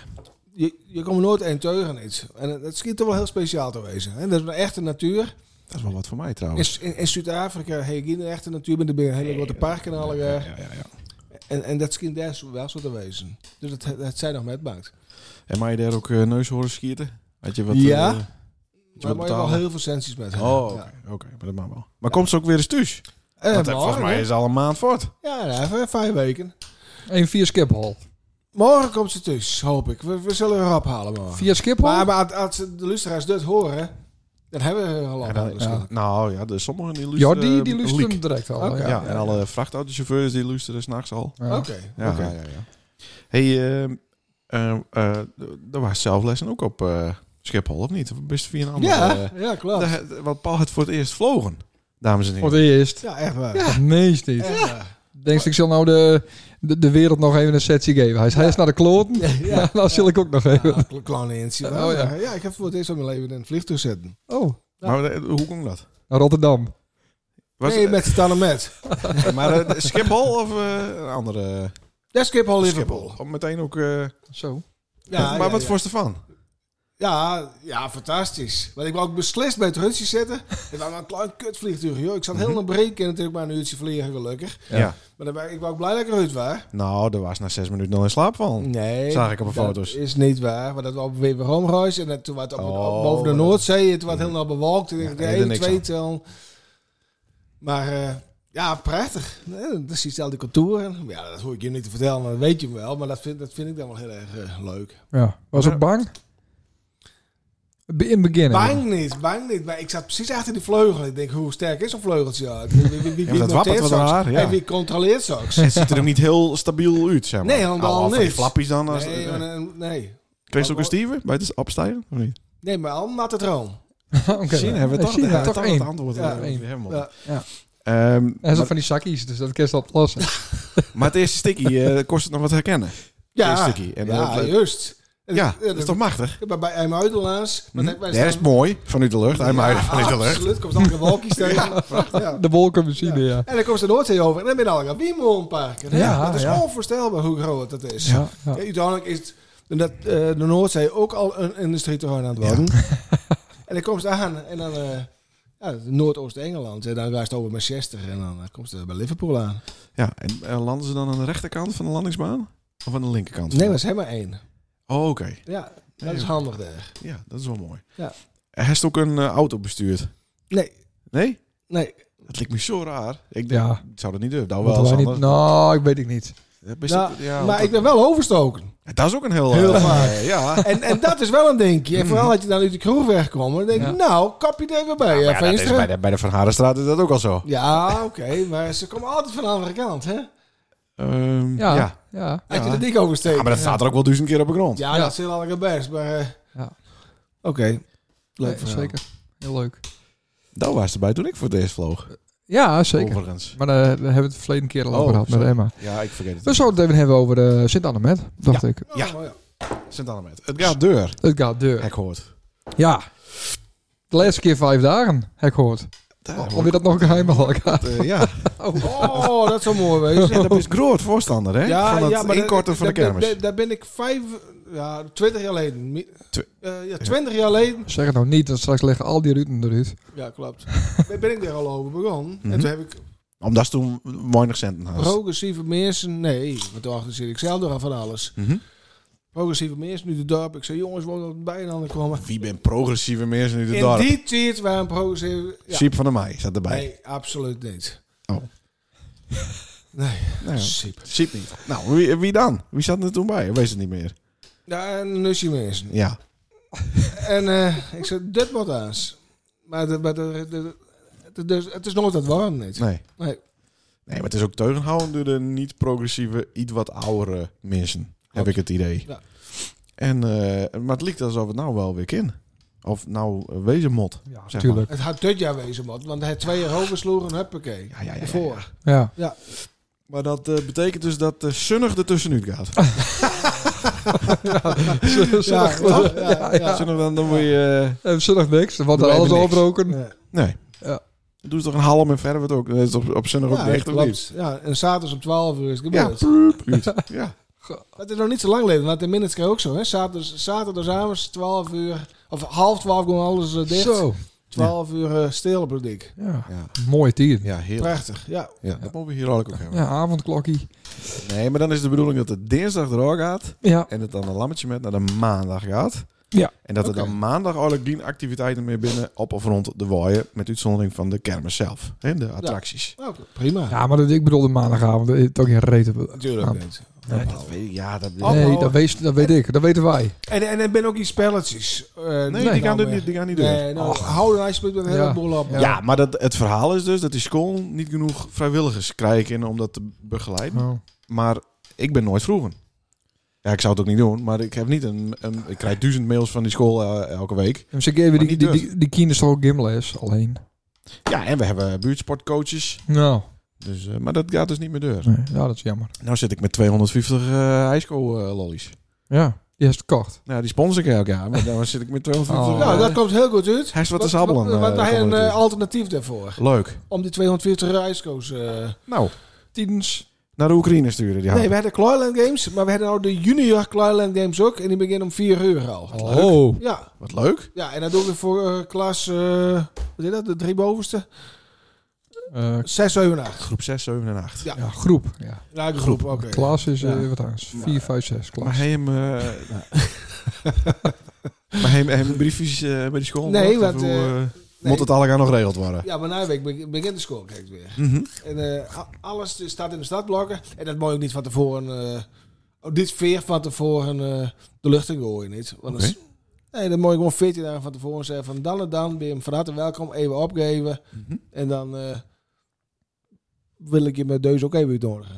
je, komt nooit één teugen iets. En het, het schiet toch wel heel speciaal te wezen. En dat is een echte natuur.
Dat is wel wat voor mij
In,
trouwens.
in, in Zuid-Afrika heb je geen echte natuur, maar er zijn hele grote parken en alle.
ja,
eh,
ja, ja, ja.
En, en dat schijnt daar zo- wel zo te wezen. Dus dat, dat zijn nog met maakt.
En mag je daar ook eh neushoorn schieten? Had je wat?
Ja.
eh,
Maar daar moet je wel
betalen?
heel veel sensies met hebben.
oh, oké, oké, maar dat mag wel. Maar komt ze ook weer eens thuis?
Ja,
Want,
en
eh, volgens
morgen,
mij
hè?
is ze al een maand voort.
ja nou, even vijf weken.
een via Schiphol.
Morgen komt ze thuis, hoop ik. We, we zullen haar ophalen morgen.
Via Schiphol?
Maar, maar als- als de luisteraars dit horen, dan hebben we haar al
En dan-
ophalen. waarschijnlijk.
Nou ja, de, sommigen die
ja,
luisteren.
die, die
eh,
lust
leak.
hem direct al.
Oké.
Ja,
Ja. Ja.
en alle vrachtautochauffeurs die luisteren s'nachts al.
Oké.
Ja,
oké.
ja, ja. ja. hey, eh eh eh, d- er waren zelflessen ook op eh, Schiphol, of niet? Of best via een andere... eh,
Ja, ja, klopt.
De- want Paul had voor het eerst vlogen, dames en
Voor
heren.
het eerst.
Ja, echt waar.
Ja. Meest niet.
Echt waar.
Denk je, ik zal nou de, de, de wereld nog even een setje geven. Hij is, hij is naar de kloten. Ja, nou zal ik ook nog even.
Ja, kle- Kleine eentje.
Oh,
wel,
ja.
maar ja, ik heb voor het eerst van mijn leven in een vliegtuig zitten.
Oh,
Maar eh, hoe kon dat?
naar Rotterdam.
Was,
nee, met Stanne met.
Maar eh, Schiphol of eh, een andere?
Ja, Schiphol Liverpool.
Of meteen ook... eh,
Zo.
Ja,
maar
ja,
wat
ja.
voor Stefan?
Ja, ja, fantastisch. Want ik wou ook beslist bij het hutje zitten. Het was maar een klein kutvliegtuig, joh. Ik zat heel naar breek en natuurlijk maar een uurtje vliegen, gelukkig.
Ja.
Maar dan ben ik, ik was ook blij dat ik eruit was.
Nou, daar was na zes minuten al in slaap van.
Nee.
Zag ik op de
dat
foto's.
is niet waar. Maar dat was op Weber Homereis. En dat, toen was het op,
Oh,
op- boven de
maar dat-
Noordzee. Het was helemaal bewolkt. En
Ja,
ik
daar
dacht,
deed er
één,
niks
twee
aan.
tel. Maar eh, ja, prachtig. Nee, Dat zie je al die contouren. Ja, dat hoef ik je niet te vertellen. Dat weet je wel. Maar dat vind, dat vind ik dan wel heel erg eh, leuk.
Ja. Was ook bang? Be- In het begin.
Bang niet, bang niet. Maar ik zat precies achter die vleugel. Ik denk, hoe sterk is zo'n vleugeltje? Ja, Wie, wie, wie, wie
dat
noteert
wappert wat
zoiets?
raar, ja.
En wie controleert zoiets?
Het ziet er ook niet heel stabiel uit, zeg maar.
Nee, helemaal
Al- al van die
niks.
flappies dan. Als,
Nee,
eh,
nee, nee.
kreeg je ook een stiever bij het opstijgen? Of niet?
Nee, maar al een natte droom.
Oké.
Misschien hebben we
Nee,
toch,
China,
ja,
toch
toch eh,
één.
het antwoord.
Ja,
Ja,
één.
Ja.
Hij zat van die zakjes, dus dat kun je wel oplossen.
Ehm, maar het eerste stikkie eh, kost het nog wat herkennen.
Ja,
Eerste stukje. En
ja,
dat-
juist. En
Ja,
dat-
dat is toch machtig?
Bij- Bij Eim Uitelaars.
Hm? Ja, dat is mooi. Vanuit de lucht. Hij maakt het vanuit de lucht.
Absoluut, komt dan de walkies tegen. Ja.
De wolkenmachine, ja.
En dan komt ze de Noordzee over en dan ben je al een wiemoornpark.
Ja,
Ja, dat is
ja.
onvoorstelbaar hoe groot dat is.
Ja, ja.
Ja, uiteindelijk is het- dat, eh, de Noordzee ook al een industrieterrein aan het worden. en dan komt ze aan en dan... eh, ja, Noordoost-Engeland. En dan gaat het over Manchester. En dan eh, komt ze bij Liverpool aan.
Ja, en eh, landen ze dan aan de rechterkant van de landingsbaan? Of aan de linkerkant?
Nee, maar ze hebben maar één.
Oh, oké.
Ja, dat is handig daar.
Ja, dat is wel mooi.
Ja.
Hij heeft ook een eh, auto bestuurd.
Nee,
Nee?
nee.
Dat lijkt me zo raar. Ik denk,
Ja.
ik zou dat niet durven. Nou wel,
Moeten wij
Sander.
niet, nou, ik weet het niet.
Dat is-
Nou,
ja,
maar
dat,
ik ben wel overstoken.
dat is ook een heel...
Heel
eh,
vaak.
ja.
En, en dat is wel een dingetje. En vooral dat je dan uit de kroeg wegkomt. Dan denk ik,
Ja.
nou, kap je er weer bij. Ja,
dat is bij, de, bij de Van Harenstraat is dat ook al zo.
ja oké. maar ze komen altijd van de andere kant, hè?
Ehm,
Ja,
ja.
ja.
Als je de dik oversteekt.
Ah, maar dat staat er ook wel duizend keer op de grond.
Ja, dat is heel erg best. Maar, eh,
Ja.
Oké. Leuk
Nee,
verhaal.
zeker. Heel leuk.
Dat was erbij toen ik voor het eerst vloog.
Ja, zeker.
Overigens.
Maar eh, daar hebben we het verleden keer al over
Oh,
gehad met
sorry.
Emma.
Ja, ik vergeet het.
We zouden het even hebben over eh Sint-Annemet, dacht ik.
Oh,
Ja.
mooi, ja.
Sint-Annemet. Het gaat deur.
Het gaat deur.
Hek hoort.
Ja. De laatste keer vijf dagen, heb ik gehoord.
Daar
Alweer dat nog geheim houden.
Oh, Eh, ja.
Oh, dat zou mooi wezen.
ja, dat is groot voorstander, hè?
Ja,
van het
ja, maar dat-
inkorten van de
dat- dat-
kermis.
dat- Daar ben ik vijf, ja, twintig jaar geleden. Mi-
Twi-
eh, ja, twintig jaar geleden.
Zeg het nou niet, want straks liggen al die ruten eruit.
Ja, klopt. Daar ben ik daar al over begonnen.
Mhm.
En toen heb ik
Omdat ze toen weinig centen hadden.
progressieve mensen, nee, want daarachter zit ik zelf er al van alles.
Mhm.
Progressieve mensen nu de dorp. Ik zei, jongens, we moeten bij een komen.
Wie ben progressieve mensen in de
In
dorp?
die tijd waren progressieve... Ja,
Siep van der Meij zat erbij.
nee, absoluut niet.
Oh.
Nee,
Nou ja,
Siep.
Siep niet. Nou, wie, wie dan? Wie zat er toen bij? Wees het niet meer.
Ja, en nusje mensen.
Ja.
En eh, ik zei, dit moet eens. Maar, de, maar de, de- de- dus het is nooit dat warm, niet.
Nee.
Nee.
Nee, maar het is ook teugenhouden door de niet-progressieve, iets wat oudere mensen. Heb ik het idee.
Ja.
En, eh, maar het lijkt alsof het nou wel weer kan. Of nou eh, wezen mot.
Ja,
maar.
natuurlijk.
Het had dit jaar wezen, man. Want hij twee jaar oversloeg en huppakee.
Ja, ja, ja, ja,
Voor.
Ja.
Maar dat eh, betekent dus dat eh Sunnig er tussenuit gaat.
Ja, toch? ja, ja,
Sunnig dan, dan moet je... eh,
En zondag niks, want
Doen
er
we
alles
even niks.
overbroken.
Nee.
nee.
Ja.
Doe ze toch een halm en verder wordt ook. Dat is op, op Sunnig
Ja,
ook dicht,
dat
of niet?
klopt. Ja, en zaterdags om 12 uur is het
Ja,
gebeurd.
pruup, uit. ja.
Dat is nog niet zo lang geleden, want in Minnetka ook zo. Hè? Zaterdags, zaterdagavond 12 uur, of half 12 gewoon alles eh, dicht.
Zo.
12 uur eh, stil op de dik.
Ja.
Ja.
Mooi tier. Ja.
Ja, heel.
Prachtig, ja.
Ja, dat mogen we hier ook hebben.
avondklokkie.
Nee, maar dan is de bedoeling dat het dinsdag erdoor gaat.
Ja.
En het dan een lammetje met naar de maandag gaat.
Ja.
En dat
Oké.
er dan maandag eigenlijk geen activiteiten meer binnen op of rond de waaien. Met uitzondering van de kermis zelf. Hè, de attracties.
Nou, prima.
Ja, maar dat, ik bedoel de maandagavond, dat is het ook geen reet op.
Natuurlijk
Ja.
niet.
Ah. Ja, dat weet ik. Ja, dat
Oh,
Nee,
oh.
dat weet, dat weet ik. Dat weten wij.
En, en er ben ook die spelletjes. eh,
Nee, die gaan,
nou
er
weer-
niet, die gaan niet door.
Nee, nou, hou er alsjeblieft een
Ja.
heleboel op.
Ja, maar dat, het verhaal is dus dat die school niet genoeg vrijwilligers krijgen om dat te begeleiden.
Oh.
Maar ik ben nooit vroegen. Ja, ik zou het ook niet doen, maar ik heb niet een... een ik krijg duizend mails van die school eh, elke week.
En ze geven
Maar
die,
niet
die,
dus.
die, die kinderen toch ook gymles alleen.
Ja, en we hebben buurtsportcoaches.
Nou,
Dus, eh, maar dat gaat dus niet meer deur.
nee, ja, dat is jammer.
Nou zit ik met 250 eh ijsco-lollies.
Ja, die is verkocht.
nou, die sponsor ik elk jaar. Maar dan zit ik met 250...
Oh.
eh,
Nou, dat komt heel goed uit.
Hij is wat te sabbelen.
Want- Want
eh,
wij hebben een
komt het
eh, alternatief daarvoor.
uit. Leuk.
Om die 250 ijskoos... eh,
Nou,
Tiens.
naar de Oekraïne sturen die
Nee,
hap.
we hadden Cloyland Games, maar we hadden nou de junior Cloyland Games ook. En die beginnen om 4 uur al.
Oh.
Ja,
Wat leuk.
ja, en dat doen we voor eh, klas, eh, wat is dat, de drie bovenste?
Eh,
6, 7 en 8.
Groep 6, 7 en 8.
ja, groep. Ja.
Ja, de groep, oké.
Klas is eh,
Ja.
wat anders. 4, 5, 6.
Nou, Maar
Klas.
hij hem... eh, maar hij hij hem briefjes eh, bij de school?
Nee,
bracht? Of
want,
hoe,
eh,
eh,
nee.
Moet het allemaal nog geregeld worden?
Ja, maar nou na week beg- begint de school, kijk weer.
Mhm.
En eh, a- alles dus staat in de stadblokken. En dat moet je ook niet van tevoren, eh, oh, dit veer van tevoren eh, de lucht in gooien, niet? Want dat is- Nee, dan moet je gewoon 14 dagen van tevoren zeggen van dan en dan ben je hem van harte welkom, even opgeven. En dan eh, wil ik je met deus ook even uitnodigen.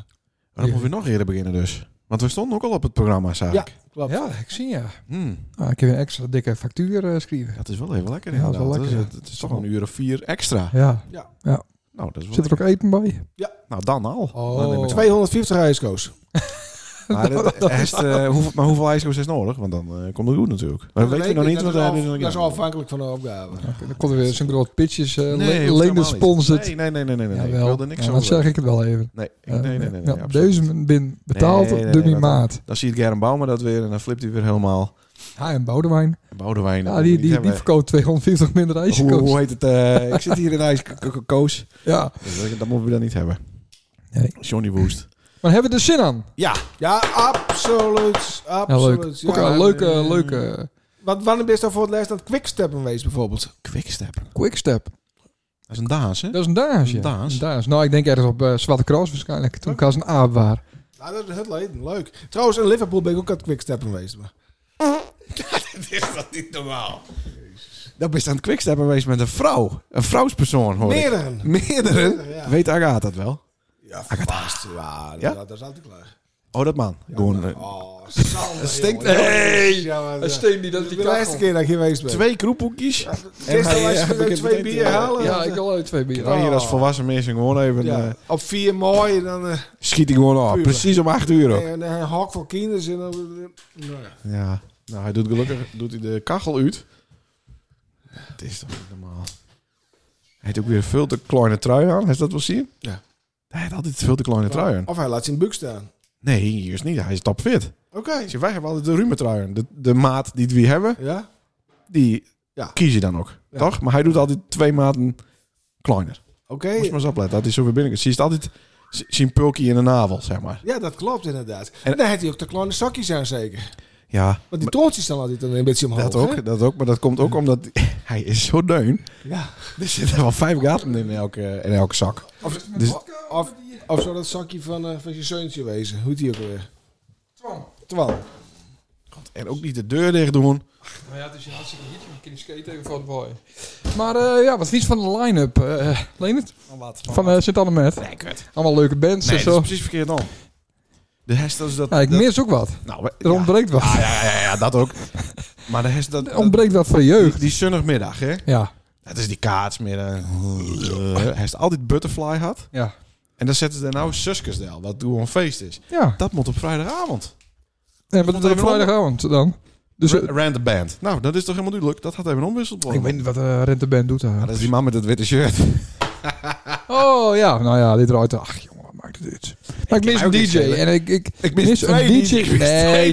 Maar dan moeten we nog eerder beginnen dus. Want we stonden ook al op het programma, zag ik.
Klopt.
Ja, ik zie ja.
Hmm,
Nou, ik heb een extra dikke factuur eh, schrijven.
dat is wel even lekker
Ja, dat is
inderdaad.
wel
Dat is-
lekker, ja.
het is toch een uur of vier extra.
Ja.
Nou, dat is wel
Zit er ook eten bij?
lekker. Nou, dan al.
Oh.
Dan neem ik-
250 ijskoos.
Maar, dat- is, eh, hoeveel, maar hoeveel ijskoos is nodig? Want dan eh, komt het goed natuurlijk. Maar dat weten we nog niet.
Dat
want
is,
daar
al-
doen we nog
dat is
niet aan.
afhankelijk van de opgave.
Dan komt er weer zo'n groot pitches. eh
hoeft
nee,
helemaal
Leende
niet.
sponsored.
Nee, nee, nee, nee, nee. nee. Ik
Jawel.
wilde niks
Ja,
over.
Dan zeg ik het wel even. Eh,
Nee, ik- nee, nee, nee. nee,
ja,
absoluut niet.
deze bin betaald
Nee, nee,
door
nee,
mijn
dat-
maat.
Dan ziet Gerren Bouwman dat weer en dan flipt hij weer helemaal.
Ja, en Boudewijn.
En Boudewijn. dat
Ja,
moet
die,
ik
die, die
hebben.
verkoopt 250 minder
hoe, hoe
ijskoos.
heet het? eh, ik zit hier in ijskoos.
Ja.
Dat, dat moeten we dan niet hebben.
Nee.
Johnny Woest.
Maar hebben we er zin aan?
Ja, ja, absoluut.
Ja, leuk.
absoluut. Ja,
Ook een leuke, leuke
Wat wanneer ben je dan voor het laatst aan het quicksteppen geweest bijvoorbeeld?
Quickstep. Dat
quickstep.
is een Daas, hè?
Dat is een daas, ja.
Een daas.
Een Nou, ik denk ergens op eh, Zwarte Cross waarschijnlijk. Toen ik als een aap waar.
Nou, dat is het leuk. leuk. Trouwens, in Liverpool ben ik ook aan het quicksteppen geweest. Maar.
Dat ben je aan het Quickstep geweest met een vrouw. Een vrouwspersoon, hoor ik.
Meerdere.
Meerdere?
ja.
Weet Agatha dat wel?
Ja, vast. Ja, dat,
Ja?
dat is altijd klaar.
Oh, dat man. Gewoon
nou,
eh,
Oh, Het
stinkt.
Hey! Ja, maar,
steekt niet, dat
de laatste keer dat ik hier geweest ben.
twee kroephoekjes.
Gisteren
Ja,
was ik
heb ik
weer
het
twee
meteen,
bier
eh,
halen.
Ja, ik wil uit twee bieren.
Kan hier als volwassen mensen gewoon even...
Oh. Ja,
eh,
op vier mooi en dan eh,
schiet hij gewoon af.
Puur.
Precies om acht uur ook.
en, eh, een hok voor kinderen. En dan, nou, ja.
Ja. Nou, hij doet gelukkig doet hij de kachel uit. Het is toch niet normaal. Hij heeft ook weer veel te kleine trui aan. Is dat wel zien?
Ja.
Hij heeft altijd veel te kleine trui aan.
Of hij laat zijn buik staan.
Nee, hier is niet. Hij is topfit.
Oké.
Ik zeg, Wij hebben altijd de ruime trui aan. De, de maat die we hebben,
Ja?
die
Ja.
kies je dan ook.
Ja.
Toch? Maar hij doet altijd twee maten kleiner.
Oké.
Moest maar eens opletten. Dat is zo weer binnen. Zie je het altijd z- zijn pulkie in de navel, zeg maar.
Ja, dat klopt inderdaad.
En-
En dan had hij ook de kleine zakjes aan zeker.
Ja,
Want die toontjes staan altijd een beetje omhoog.
dat
hè?
ook, dat ook. Maar dat komt ook omdat hij is zo deun.
Ja.
Er zitten wel vijf gaten in elke, in elke zak.
Of,
Dus-
of, of zou dat zakje van, eh, van je zoontje wezen? Hoe heet die ook weer? Twan. Twan.
En ook niet de deur dicht doen.
Maar Nou ja, het is een hartstikke hitje. Ik kan skate even voor de boy. Maar eh, ja, wat vies van de line-up, eh Leendert?
Van
Van eh sint anne met
Nee, kut.
Allemaal leuke bands
Nee,
en
dat is
zo.
precies verkeerd om. De hest dat is dat...
Ja, ik
dat-
mis ook wat.
Nou, we-
Er
ja.
ontbreekt wat.
Ah, ja, ja, ja, ja, dat ook. Maar de hest dat...
Er ontbreekt wat voor
die,
jeugd.
die zonnigmiddag, hè.
Ja,
Dat is die kaatsmiddag. Hij heeft altijd butterfly had.
ja,
En dan zetten ze er nou Suskesdel, wat toen een feest is.
ja.
Dat moet op vrijdagavond.
En
Komt
wat doet
er
er
weer onder?
vrijdagavond dan? Dus eh,
Ra- Rand the band. Nou, dat is toch helemaal duidelijk. Dat had even omwisseld worden.
ik weet niet wat eh Rente Band doet daar.
Ja, dat is die man met het witte shirt.
Oh ja, nou ja, dit eruit. Ach jongen, wat maakt het uit? Maar ik mis
mij
een
ook niet
DJ
schelen.
en ik, ik,
Ik mis
een
twee
DJ.
DJ's. Ik mis
nee,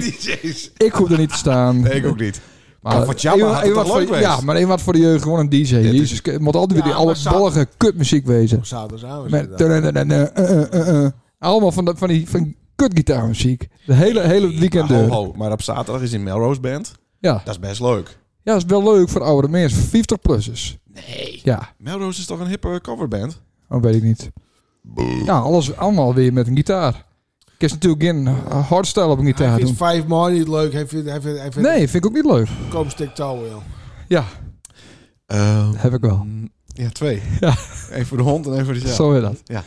twee DJ's.
ik hoef er niet te staan.
Nee, ik ook niet.
Maar,
Maar voor Jabba
één-
had het
één
toch
wat
leuk
voor,
geweest?
Ja, maar één wat voor de jeugd, gewoon een DJ.
het is-
Jezus, het moet altijd weer
Ja,
die
maar
oude
zou-
bollige kutmuziek wezen.
Op zaterdagavond.
Met,
inderdaad.
eh, eh, eh, eh. Allemaal van, dat- van die van kutgitaarmuziek. De hele, hele weekend
Maar,
door.
ho, ho, maar op zaterdag is die Melrose Band.
Ja.
Dat is best leuk.
ja, is wel leuk voor oudere mensen, voor 50-plussers. Nee. Ja,
Melrose is toch een hippe coverband?
dat weet ik niet. Ja, alles allemaal weer met een gitaar. Ik is natuurlijk geen eh, hardstyle op een
Hij
gitaar
vindt
doen.
vijf mooi niet leuk. Hij vindt, hij vindt, hij vindt
Nee, vind ik ook niet leuk.
een koopstuk touw wel.
Ja, heb ik wel.
mm, Ja, twee.
Ja.
Eén voor de hond en één voor de zaal.
Zo is dat.
Ja.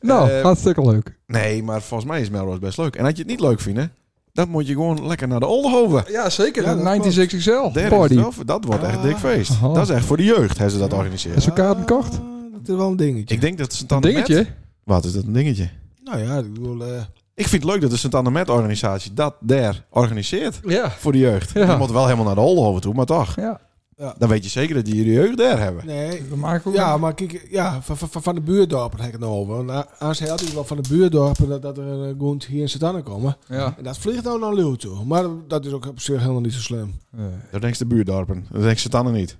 Nou,
Eh,
hartstikke leuk.
Nee, maar volgens mij is Melrose best leuk. En als je het niet leuk vindt, hè, dan moet je gewoon lekker naar de Oldenhoven.
Ja, zeker.
Ja, dat
96 XL.
Daar is
Oh, Party. Ah.
het wel voor- dat wordt echt dik feest.
Aha.
Dat is echt voor de jeugd, hebben ze dat
Heb
organiseerd.
ze kaarten kocht?
Ah, dat is wel een dingetje.
Ik denk dat sint
Een
anne
dingetje.
Wat is dat, een dingetje?
nou ja, ik bedoel... eh,
Ik vind het leuk dat de sint anne organisatie dat daar organiseert.
Ja.
Voor de jeugd.
Ja.
Je moet wel helemaal naar de Oldenhoven toe, maar toch.
Ja.
Dan weet je zeker dat die de jeugd daar hebben.
nee,
We maken ook
Ja, maar kijk, ja, van, van, van- van de buurdorpen heb ik het nou over. Nou, Als hij altijd wel van de buurdorpen dat, dat er eh, gewoon hier in Satanen komen.
ja.
En dat vliegt nou naar Leeuw toe. Maar dat is ook op zich helemaal niet zo slim.
Dat denkt de buurdorpen. Dat denkt Sint-Anne niet.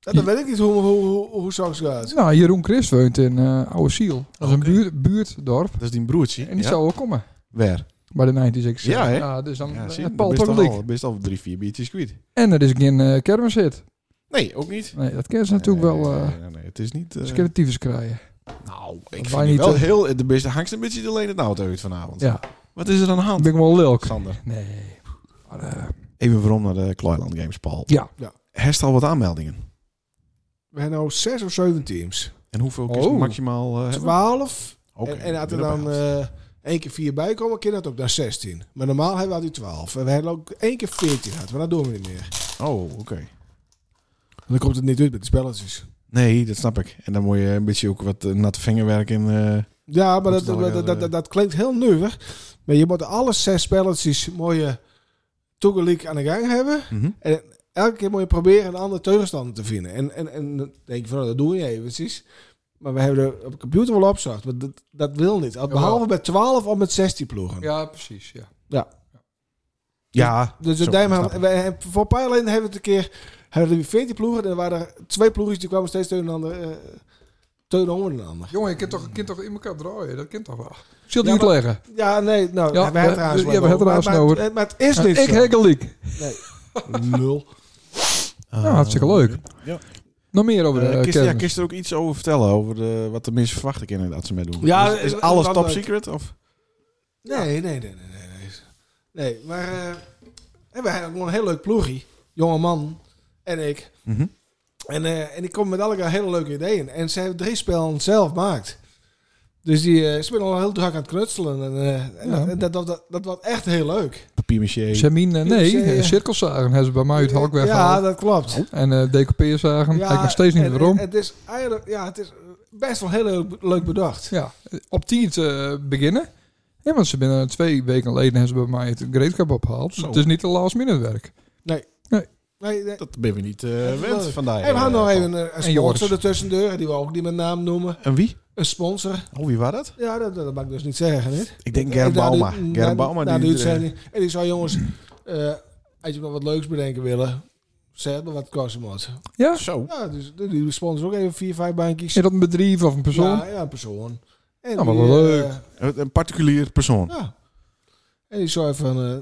Ja, dan weet ik niet hoe, hoe, hoe, hoe straks gaat.
Nou, Jeroen Chris woont in eh Oude Siel. Dat is een buurt, buurtdorp.
Dat is die broertje.
En die
ja?
zou wel komen
Waar?
bij de 96 XL.
Ja, hè?
dus dan
Ja,
ja,
zie je,
Paul
best
toch
al,
dik.
best al drie, vier biertjes kwijt.
En er is geen eh kermishit.
Nee, ook niet.
Nee, dat kennen ze natuurlijk
Nee,
wel. eh
nee, nee, nee, het is niet... eh,
Ze kunnen tyfus krijgen.
nou, ik
wij
vind niet
niet,
wel
eh,
heel... De beste hangst een beetje alleen het nou uit vanavond.
Ja,
Wat is er aan de
ik
hand,
ben ik wel lulk.
Sander?
Nee. Maar, eh,
Even waarom naar de Kloiland Games, Paul.
Ja.
Herst al wat aanmeldingen.
We hebben nou zes of zeven teams.
En hoeveel kun je
Oh.
maximaal eh, hebben?
Twaalf.
Oké,
en, en als er
binnen op
dan
de helft.
eh één keer vier bij komen, kan dat ook naar 16. Maar normaal hebben we altijd 12. En we hebben ook één keer 14 gehad, maar dat doen we niet meer.
eh,
Oh, oké.
En dan komt het niet uit met de spelletjes.
Nee, dat snap ik. En dan moet je een beetje ook wat eh, natte vingerwerk in. eh,
Ja,
Moet
maar dat,
het wel
dat, dat,
weer, eh,
dat, dat klinkt heel nuver. Maar je moet alle zes spelletjes mooie toegeliek aan de gang hebben.
mhm.
En elke keer moet je proberen een andere tegenstander te vinden. En, en, en dan denk je van, nou, dat doe je eventjes. Maar we hebben er op de computer wel opgezocht. Maar dat, dat wil niet. Al- Behalve met 12 of met 16 ploegen.
Ja, precies. Ja.
Ja.
Dus
zo,
op Dijm
snap
hebben
ik.
we hebben- voor Pijlijn hebben we het een keer hebben we 14 ploegen en er waren er twee ploegjes die kwamen steeds tegen een ander. eh tegen een ander.
Jongen, je kunt toch, je kunt toch in elkaar draaien? Dat kent toch wel? Zul je uitleggen?
Ja, nee, nou,
Ja,
we hebben
we-
het haast
ja,
wel
we hebben het
over.
haast
maar,
over.
maar, maar het is niet
Eh, ik
zo.
hekel leak.
Nul.
Ah,
Nou, hartstikke
Oh,
leuk.
Ja.
Nog meer over de
Eh,
eh,
kun je- ja, kun
kermis.
je er ook iets over vertellen? Over de, wat de mensen verwachten kunnen dat ze mee doen?
Ja,
is, is
eh,
alles
wat
top
leuk.
secret? Of?
Nee, nee, nee, nee, nee. Nee, nee maar eh we hebben gewoon een heel leuk ploegie. Jonge man en ik.
Mhm.
En, eh, en die komen met allemaal hele leuke ideeën. En ze hebben drie spellen zelf gemaakt. Dus die eh, ze zijn al heel druk aan het knutselen. En, eh, en
Ja.
dat- dat, dat, dat, dat was echt heel leuk.
Papier-maché?
Semien, eh, nee,
Ja,
eh,
ja.
cirkelzagen hebben ze bij mij uit Halk
Ja,
weggehaald.
dat klopt.
En eh decoupeerzagen,
Ja,
ik nog steeds niet
en-
waarom.
en Het is eigenlijk, ja, het is best wel heel leuk, leuk bedacht.
Ja, op 10 te eh, beginnen. Ja, want ze binnen twee weken geleden hebben ze bij mij het Great Cup opgehaald.
Zo.
Het is niet de last minute werk.
Nee, nee.
Dat ben je niet eh,
is
wend
leuk.
vandaag.
En we hadden
eh,
nog
Paul.
even een, een
Joris.
sponsor ertussen deur, die we ook niet met naam noemen.
En wie?
Een sponsor.
Oh, wie was dat?
Ja, dat, dat mag ik dus niet zeggen, niet?
Ik denk Germ
Na de-
Bauma.
na-
Germ Bauma.
na de
die- eh,
uitzending. En ik zou jongens, eh, als je nog wat leuks bedenken willen, zeg maar wat kosten moet.
Ja?
Zo.
Ja, dus die- die sponsor ook even vier, vijf bankjes.
Is dat een bedrijf of een persoon?
Ja, ja, een persoon. En
Nou, maar
die,
wel
eh,
leuk.
Een een particulier persoon.
ja. En die zou even... eh,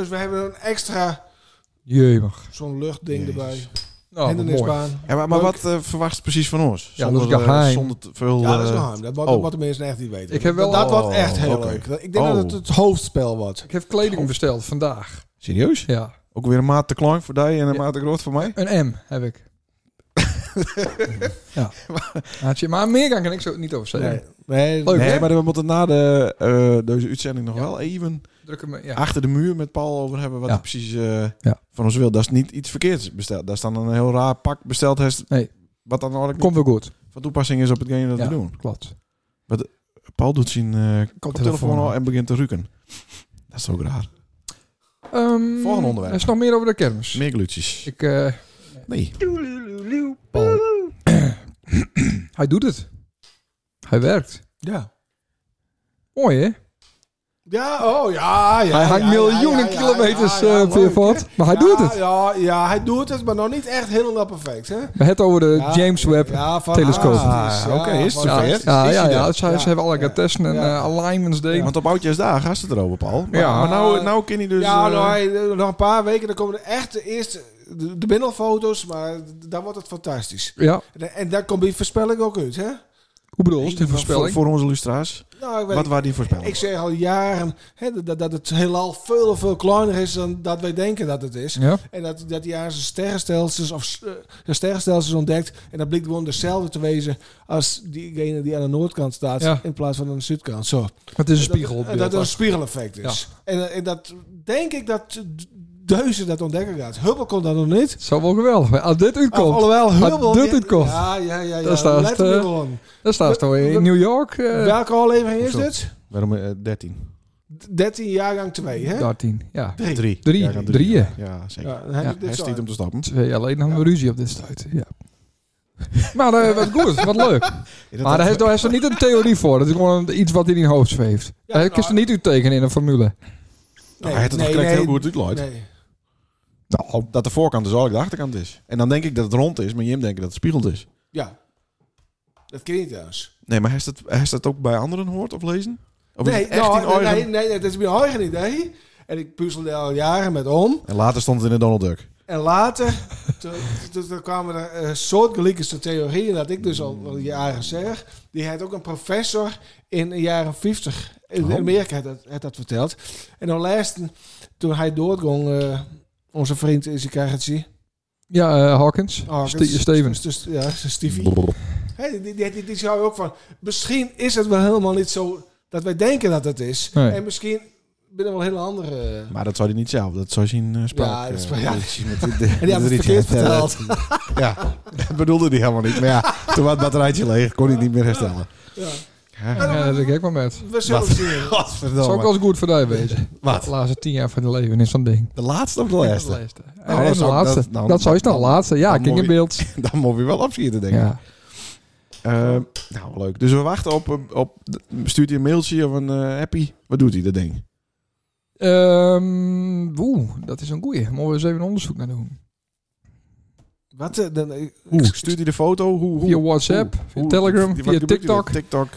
dus we hebben een extra
Jemig.
zo'n luchtding
Jezus.
erbij.
Nou, wat mooi.
Hindernisbaan.
Ja, maar, maar
Leuk.
wat eh, verwacht ze precies van ons?
Ja, dat is
eh,
geheim.
zonder te veel...
Ja, dat is
eh,
geheim. Dat wat
oh.
wat de mensen echt niet weten.
Ik heb wel-
dat dat was
Oh,
echt heel
oké.
leuk. Ik denk
Oh.
dat het het hoofdspel was.
Ik heb kleding besteld vandaag.
Serieus?
Ja.
Ook weer een maat te klein voor die en een
Ja.
maat te groot voor mij?
Een M heb ik. ja. Haatje. Maar meer kan ik er zo niet over zeggen.
Nee, nee,
Leuk,
nee,
hè?
maar we moeten na de, eh, deze uitzending nog wel even
Druk hem, ja.
achter de muur met Paul over hebben wat
Ja.
hij precies eh,
Ja.
van ons wil. Dat is niet iets verkeerds besteld. Daar is dan een heel raar pak besteld. Heeft,
Nee.
Wat dan eigenlijk
Komt wel goed.
niet van toepassing is op hetgeen dat
Ja,
we doen.
Klopt.
Paul doet zijn eh
telefoon
koptelefoon al en begint te ruiken. Dat is ook raar.
Ehm,
Volgende onderwerp.
Er is nog meer over de kermis.
Meer glutjes.
Ik, eh,
Nee.
Paul. Hij doet het. Hij werkt.
Ja.
Mooi, hè?
Ja, oh ja. ja
hij hangt
ja, ja,
miljoenen
ja, ja,
kilometers
ja, ja,
eh,
leuk,
weer voort. Maar hij
Ja,
doet het.
Ja, ja, hij doet het, maar nog niet echt helemaal perfect. Hè?
We het over de
Ja,
James Webb. Ja,
ja, van
telescoop.
Azië,
Ah, oké, is
van
het
ja,
Azië.
zover?
ja,
Is
ja,
hij er?
Ze, ze
Ja.
hebben allerlei
Ja.
testen en
Ja.
eh, alignments deed.
Want op Oudjaarsdag gaat het erover, Paul. Maar,
Ja.
maar nou, nou kan hij dus...
ja,
eh,
nou, hij- nog een paar weken, dan komen er echt de eerste, de, de middelfoto's, maar dan wordt het fantastisch.
Ja,
En, en daar komt die voorspelling ook uit, hè?
hoe bedoel je? Die
voor,
voorspelling.
voor onze lustra's.
Nou, ik weet
Wat
niet.
waren die voorspellingen?
ik zeg al jaren hè, dat, dat het heelal veel, veel kleiner is dan dat wij denken dat het is.
Ja.
En dat, dat hij aan zijn sterrenstelsels, of, eh, zijn sterrenstelsels ontdekt. En dat blijkt gewoon dezelfde te wezen als diegene die aan de noordkant staat.
Ja.
In plaats van aan de zuidkant. Zo.
Het is een
Dat-
spiegel.
Dat, dat een spiegeleffect is. En, eh, en dat denk ik dat Deuzen dat ontdekken gaat. Hubbel kon dat nog niet.
Zou wel geweldig zijn. Als dit
Of,
uitkomt,
alhoewel
Maar
Hubbel...
dat
ja,
het komt.
Ja, ja, ja. ja.
Dat staat,
Letterlijk
eh,
gewoon.
dan staat ze toch in New York. eh,
Welke aflevering is
Hoezo?
dit?
Waarom eh, 13?
13 jaargang 2, hè?
13, ja.
3.
Drie.
Ja, gaan
Drieën.
Ja, zeker.
Ja, dan heb
Ja,
ik dit
Hij
zo
stiet om te stappen.
Twee jaar geleden hadden we ruzie op dit stuit. Ja. Maar eh, wat goed, wat leuk. Maar daar heeft, daar heeft er niet een theorie voor. Dat is gewoon een- iets wat in je hoofd zweeft.
Ja,
Hij
nou,
kan ze niet uittekenen in een formule.
Nou, hij heeft het gekregen heel goed uit, Lloyd.
Nee.
Nou, dat de voorkant dus eigenlijk de achterkant is. En dan denk ik dat het rond is, maar Jim denkt dat het spiegeld is.
Ja. Dat ken je niet thuis.
Nee, maar heeft dat, heeft dat ook bij anderen hoort of lezen? Of is
nee,
het echt
nou,
in eigen...
nee, nee, nee, dat is mijn eigen idee. En ik puzzelde al jaren met om.
En later stond het in de Donald Duck.
En later toen, toen- toen kwamen er eh, soortgelijke theorieën, dat ik dus al, al jaren zeg. Die had ook een professor in de jaren 50 in
Oh.
Amerika had dat, had dat verteld. En dan laatst, toen hij doodging, eh, Onze vriend is een karretje.
Ja, eh, Hawkins. Ste- Steven.
Dus, ja, Stevie. Hey, die, die, die, die zou ook van... Misschien is het wel helemaal niet zo dat wij denken dat het is.
Nee.
En misschien binnen wel hele andere...
Maar dat zou hij niet zelf. Dat zou zijn eh spraak.
Ja, dat is-
eh,
ja.
politie met dit- dit-
En die hebben
dit
het verkeerd
rietje.
verteld.
eh, Ja, dat bedoelde hij helemaal niet. Maar ja, toen was het batterijtje leeg, kon hij het niet meer herstellen.
Ja.
Ja, dat denk ik wel met.
We zullen
Wat?
zien.
Zou
Godverdomme.
ook wel eens goed voor jou wezen.
Wat?
De laatste tien jaar van je leven is zo'n ding.
De laatste of de laatste?
laatste.
Nou, dat
dat,
zou-
laatste.
dat-
Dat,
nou,
zou je
dat-
dan laatste. Ja,
dat
King
moet
in
je-
Beeld.
Dan moet je wel opschieten, denk ik.
Ja.
Eh, nou, leuk. Dus we wachten op... op, stuurt hij een mailtje of een eh, happy? Wat doet hij, dat ding?
Ehm, Oeh, dat is een goeie. Moeten we eens even een onderzoek naar doen.
Wat? eh, Dan, eh,
Hoe? Stuurt hij de foto? Hoe? hoe
Via WhatsApp,
hoe-
via
hoe-
Telegram,
wat
via
gebruikt hij
TikTok.
dan? TikTok.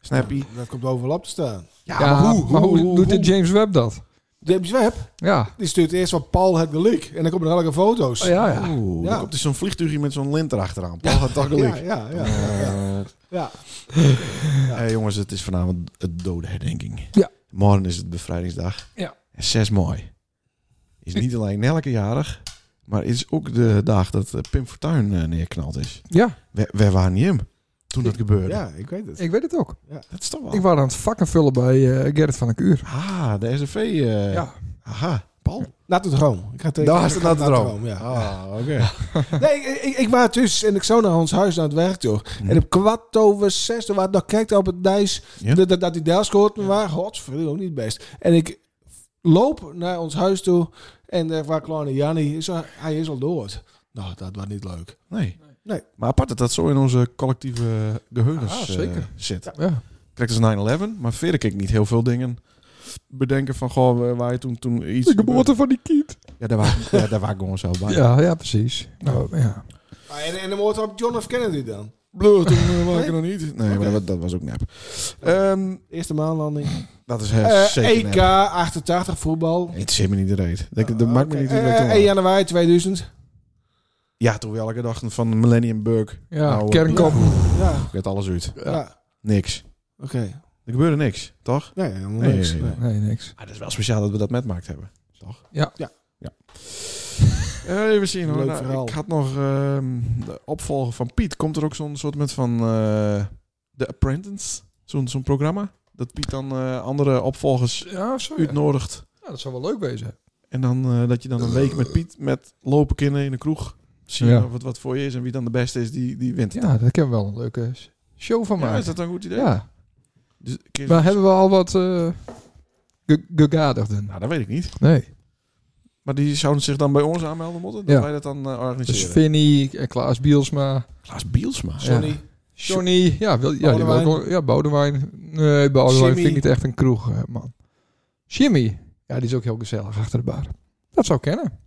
Snappy.
dat komt overal op te staan.
Ja,
Ja,
maar hoe?
maar hoe,
hoe-
doet
hoe-
dit James Webb dat?
James Webb,
Ja.
die stuurt eerst wat Paul het gelijk. En dan komen er elke foto's.
Oh, ja, ja.
Oeh,
Ja.
dan komt dus zo'n vliegtuigje met zo'n lint erachteraan. Paul gaat toch
ja,
gelijk.
ja. ja,
Eh,
ja, ja.
hey, jongens, het is vanavond het dode herdenking.
Ja.
Morgen is het bevrijdingsdag.
Ja.
En 6 mei is niet alleen Nelke jarig, maar het is ook de dag dat eh, Pim Fortuyn eh, neerknald is.
Ja,
We, we waren niet hem toen dat gebeurde.
Ja, ik weet het.
ik weet het ook.
Dat is toch wel...
Ik was aan het vakken vullen bij eh Gerrit van der Kuur.
Ah, de SNV. eh,
Ja.
Aha, Paul.
Naar het droom. Ik ga tegen-
Daar is het
ik ga
naar de droom.
ja.
Ah, oké.
Nee, ik, ik, ik was dus en ik zou naar ons huis naar het werk toe.
Mhm.
En op kwart over zes, waar dat kijkt op het dijs,
Ja.
dat, dat, dat die daar schoot me waren, godverdomme, ook niet best. En ik loop naar ons huis toe en daar waar kleine Jannie, zo, hij is al dood. Nou, dat was niet leuk.
Nee.
Nee.
Maar apart dat dat zo in onze collectieve geheugens
Ah,
eh,
zeker.
zit.
Ja.
Kijk, dat is 9-11, maar verder kan ik niet heel veel dingen bedenken van, goh, eh, waar je toen, toen iets... gebeurde.
van die kiet.
Ja, daar waren, ja, daar waren gewoon zo bij.
Ah, Ja, ja, precies. Nou, ja.
Ah, En, en dan hoort op John F. Kennedy dan.
Blur, toen eh, was ik er nog niet. Nee, maar dat, dat was ook nep. Ehm,
Eerste maanlanding.
dat is heel
Eh,
zeker
EK
nep.
88 voetbal.
Het zit me niet de reet. Dat, dat maakt me niet
Eh,
uit. dat ik toen
1
was.
januari 2000.
Ja, toen we elke dag van Millennium Burg.
Ja,
Nou, eh,
kernkop.
Ja,
Ik werd alles uit.
ja.
Niks.
oké.
Er gebeurde niks, toch?
Nee, helemaal
Nee,
niks.
nee,
Nee.
nee.
Nee, niks. Ah,
Maar dat is wel speciaal dat we dat metmaakt hebben. Toch?
Ja.
Ja.
ja. Eh, even zien hoor.
Leuk
Nou,
verhaal.
ik had nog ehm, de opvolger van Piet. Komt er ook zo'n soort met van eh The Apprentice? Zo'n zo'n programma? Dat Piet dan eh, andere opvolgers
Ja, zo. ja.
uitnodigt.
Ja, dat zou wel leuk wezen.
En dan eh, dat je dan een week met Piet met lopen kinderen in de kroeg. Zien
Ja.
of het wat voor je is en wie dan de beste is, die, die wint.
Ja, daar kunnen we wel een leuke show van
Ja, is
maken.
dat een goed idee?
Ja.
Dus, kun je-
Maar hebben we al wat eh, ge- gegadigden?
Nou, dat weet ik niet.
Nee.
Maar die zouden zich dan bij ons aanmelden moeten? Dat
Ja.
wij dat dan eh,
Dus
organiseren.
Vinnie, eh, Klaas Bielsma,
Klaas Bielsma.
Johnny.
Johnny. Ja, wil, ja, die wil ook
Boudewijn.
wel- ja Boudewijn. Nee, Boudewijn
Jimmy.
vind ik niet echt een kroeg, eh, man. Jimmy. Ja, die is ook heel gezellig achter de bar. Dat zou kennen.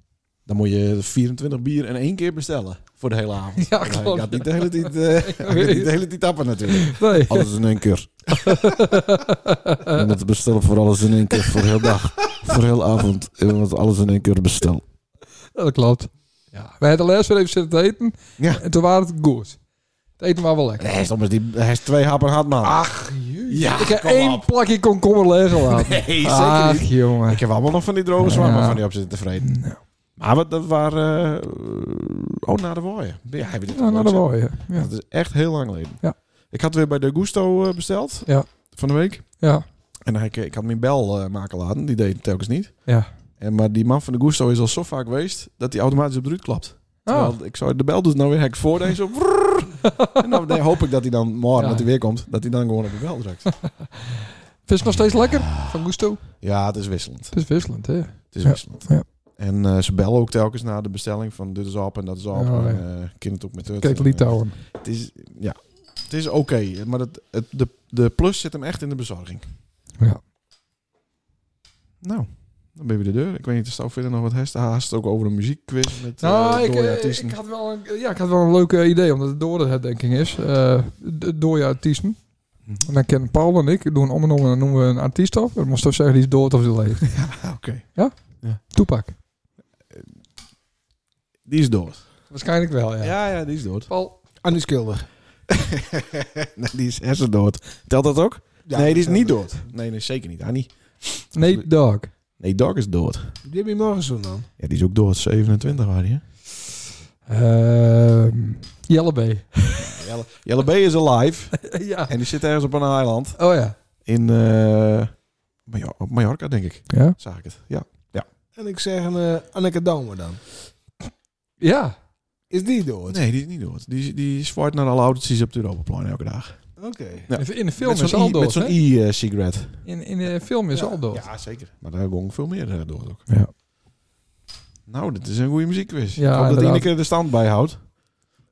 Dan moet je 24 bier in één keer bestellen. Voor de hele avond.
Ja,
Ik
klopt.
had niet de hele tijd, eh, ik had niet de hele tijd tappen natuurlijk.
Nee.
Alles in één keer. Je moet bestellen voor alles in één keer. Voor heel dag. Voor heel avond. Je moet alles in één keer bestellen.
Ja, dat klopt. Ja. Wij hadden laatst weer even zitten te eten.
Ja.
En toen waren het goed. Het eten was wel lekker.
Hij is, toch met die, hij is twee happen hard, man.
Ach, jezus.
Ja,
ik heb
kom
één
op.
plakje komkommer leeg laten.
Nee,
Ach, jongen.
Ik heb allemaal nog van die droge zwaar,
Ja.
van die op zitten tevreden. Maar wat, dat waren... eh, oh, naar de wooien. Ja, heb je dit
Ja,
al
nou, dat
gezien?
wel, ja. Ja.
Dat is echt heel lang geleden.
Ja.
Ik had weer bij De Gusto eh, besteld.
Ja.
Van de week.
ja.
En hij, ik had mijn bel eh, maken laten. Die deed het telkens niet.
Ja.
En, maar die man van de Gusto is al zo vaak geweest dat hij automatisch op de ruit klapt.
Ah,
Terwijl
Oh.
ik zou de bel doet nou weer hek voor deze. Zo, vrrrr. en dan nee, hoop ik dat hij dan morgen
Ja.
dat hij weer komt, dat hij dan gewoon op de bel drukt.
Het is nog steeds lekker van Gusto.
ja, het is wisselend.
Het is wisselend, hè?
Het is
Ja,
wisselend.
ja.
En eh, ze bellen ook telkens na de bestelling van dit is op en dat is op.
Ja, Oh, ja.
en eh kind het ook met het.
Kijk,
En,
Litouwen.
eh, het is, ja, het is oké. maar dat, het, de, de plus zit hem echt in de bezorging.
Ja.
Nou, dan ben je weer de deur. Ik weet niet, er staat verder nog wat hersen. Haast ook over een muziekquiz met
Nou,
eh,
ik,
Doria
eh,
Thyssen.
ik, had wel een, ja, ik had wel een leuk eh, idee, omdat het door de herdenking is. Eh Doorja artiesten.
Mhm.
En dan kennen Paul en ik, doen om en om en dan noemen we een artiest af. Dan moest toch zeggen, die is dood of die leeft.
Ah, Oké,
Toepak.
die is dood.
Waarschijnlijk wel, ja.
Ja, ja, die is dood.
Paul.
Annie Schilder.
nee, die is hersendood. Telt dat ook?
Ja,
nee, die is niet
dat-
dood. Nee, nee, zeker niet. Annie.
Nate Dog.
Nee, Dog is dood.
Jimmy Morrison dan.
Ja, die is ook dood. 27 waren die, hè?
Ehm Jelle B.
Jelle, Jelle B is alive.
ja.
En die zit ergens op een eiland.
Oh ja.
In eh Major- op Mallorca, denk ik.
Ja.
Zag ik het. Ja.
En ik zeg een, eh Anneke Daumer dan.
Ja.
Is die dood?
Nee, die is niet dood. Die, die zwaait naar alle auto's op het Europaplein elke dag.
Oké.
Ja.
In- In de film
met zo'n
is al
i- Met
dood,
zo'n
hè?
e-cigarette.
In, in de film is al dood.
Ja, zeker. Maar daar gong veel meer eh, dood ook.
Ja.
Nou, dit is een goede muziekquiz.
Ja,
ik hoop dat
inderdaad.
Ineke de stand bijhoudt.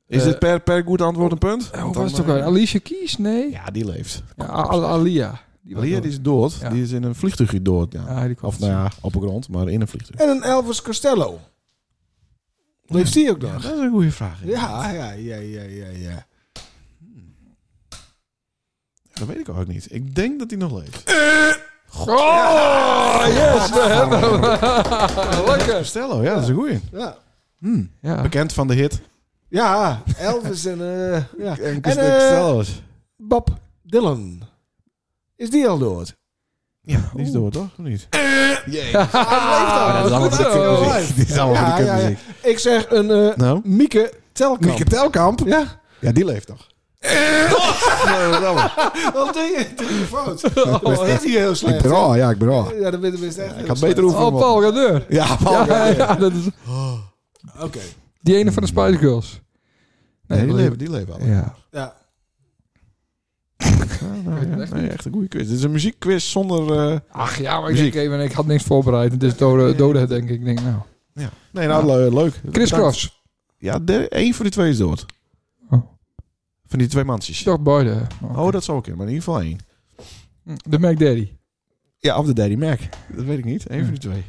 Is
Eh,
dit per, per goed antwoord een punt?
Eh,
Want
Hoe
dan,
was het ook
eh,
alweer? Alicia Keys? Nee.
Ja, die leeft.
Ja, Al- Alia. was
Lia,
dood.
die is dood.
Ja.
Die is in een vliegtuigje dood. Ja.
Ja, die kwam
Of nou ja, op de grond, maar in een vliegtuig.
En een Elvis Costello. Leeft die ook nog?
dat is een goede vraag.
Ja, ja, ja, ja, ja, ja.
Dat weet ik ook niet. Ik denk dat hij nog
Eh.
leeft.
Oh, yes, we hebben hem. Lekker.
Costello, ja, dat is een goeie.
Ja,
Hm.
Ja.
Bekend van de hit.
ja Elvis en, eh ja.
En
En, eh, Bob Dylan. Is die al dood?
Ja, die is dood, toch? Of niet?
Ah, goed zo.
Die is allemaal van
eh, Ja,
die
ja, ja.
kutmuziek.
Ik zeg een eh
Nou?
Mieke Telkamp.
Mieke Telkamp?
Ja.
nou Ja, die leeft nog.
Wat doe je? Doe je fout. Dat is echt niet heel
Oh, Ik
slecht.
ben al, ja, ik ben al.
Ja, dat ben dat is echt heel
Ik had
slecht.
beter hoeven.
Oh, Paul Gadeur.
Ja, Paul.
Ja,
Gauguin.
ja, dat is
Oké.
die ene van de Spice Girls.
Nee, die
dat-
leven, die leven al.
Ja.
Ja.
Ja, nou ja, nee, echt een goede quiz. Dit is een muziekquiz zonder... eh,
Ach ja, maar ik,
Muziek.
denk even, ik had niks voorbereid. Het is dode, dode denk ik. Ik denk, nou.
ja. Nee, nou, le- leuk.
Chris
Dank.
Cross.
Ja, de, één van die twee is dood.
Oh.
Van die twee mansjes.
Doc Boyden.
Oh, dat zou ook in, maar in ieder geval één.
De Mac Daddy.
Ja, of de Daddy Mac. Dat weet ik niet. Eén van die twee.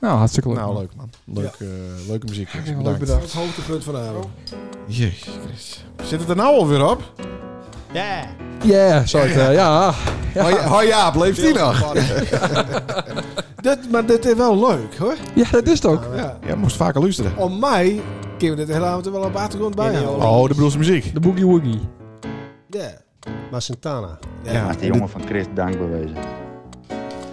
Nou, hartstikke leuk.
Nou,
man.
leuk man. Leuk, eh, leuke muziek.
Ja, leuk
Bedankt.
bedacht.
Het hoogtepunt van de avond.
Jezus Christus. Zit het er nou alweer op?
Ja.
Yeah, zou ik, eh, ja.
Ja. Hoi, hoi Jaap, leeft die nog?
Dit, maar dit is wel leuk hoor.
Ja, dat is het ook.
Ja.
Ja, moest vaker luisteren.
Om mij kunnen we dit hele avond er wel op de achtergrond bijhouden.
Oh, de broers muziek.
De Boogie Woogie.
Ja.
Maar Santana.
Ja,
Maakt die jongen van Chris dankbewezen.